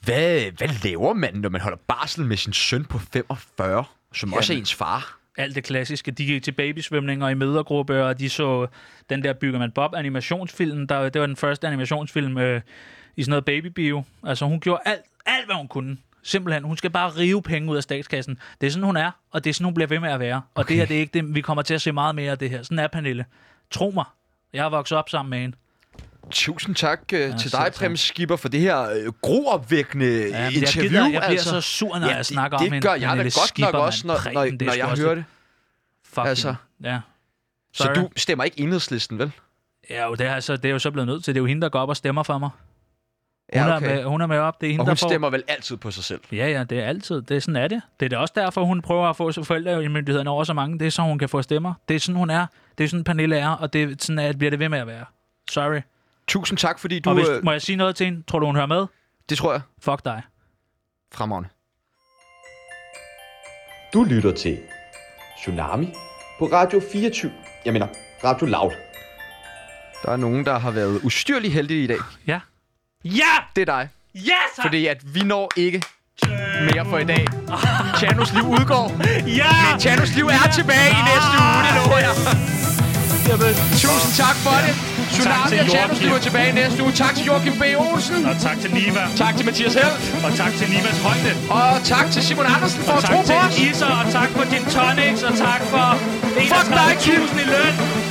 Hvad, hvad laver man, når man holder barsel med sin søn på 45, som Jamen. også er
Jamen.
ens far?
alt det klassiske. De gik til babysvømninger i mødergruppe, og de så den der Bygger man Bob animationsfilm. Der, det var den første animationsfilm øh, i sådan noget babybio. Altså hun gjorde alt, alt hvad hun kunne. Simpelthen. Hun skal bare rive penge ud af statskassen. Det er sådan, hun er, og det er sådan, hun bliver ved med at være. Og det her, det er ikke det, vi kommer til at se meget mere af det her. Sådan er Pernille. Tro mig. Jeg har vokset op sammen med hende.
Øh, Tusind tak øh, ja, til
selv
dig,
tak.
Prem Skipper, for det her øh, groopvækkende ja,
jeg
interview.
gider- jeg bliver
altså.
så sur, når jeg
det-
snakker om
Det
hende,
gør jeg da
Pernille
godt
Skipper,
nok også, når,
mand.
når,
Preben, det er
når
sgu
jeg
også
hører det.
lidt- Fucking.
Altså.
Ja.
Så
Sorry.
du stemmer ikke enhedslisten, vel?
Ja, jo, det, er, altså, det er jo så blevet nødt til. Det er jo hende, der går op og stemmer for mig. Hun,
Ja,
ja,
okay.
okay. er, med, hun er med op. Det er hende,
Og
der
hun
får...
stemmer vel altid på sig selv?
Ja, ja, det er altid. Det er sådan er det. Det er da også derfor, hun prøver at få så forældre i myndighederne over så mange. Det er så, hun kan få stemmer. Det er sådan, hun er. Det er sådan, Pernille er, og det er sådan at bliver det ved med at være. Sorry.
Tusind tak, fordi du...
og hvis,
øh,
må jeg sige noget til hende? Tror du, hun hører med?
Det tror jeg.
Fuck dig.
Fremragende.
Du lytter til Tsunami på Radio 24. Jeg mener, Radio Loud.
Der er nogen, der har været ustyrlig heldige i dag.
Ja.
Ja! Det er dig.
Ja, yes,
Fordi at vi når ikke mere for i dag. Chanos liv udgår. Ja! Men Chanos liv er tilbage i næste uge, det lover jeg. Jamen, tusind tak for det. Tsunami
til
og Chanos
Joachim.
liv er tilbage i næste uge. Tak til Joachim B. Olsen.
Og tak til Nima.
Tak til Mathias Held.
Og tak til Nimas Højde.
Og tak til Simon Andersen for
Og
at
tak
tro på
til
os.
Isa, og tak for din tonics, og tak for
Fuck dig, Kim.
31.000 i løn.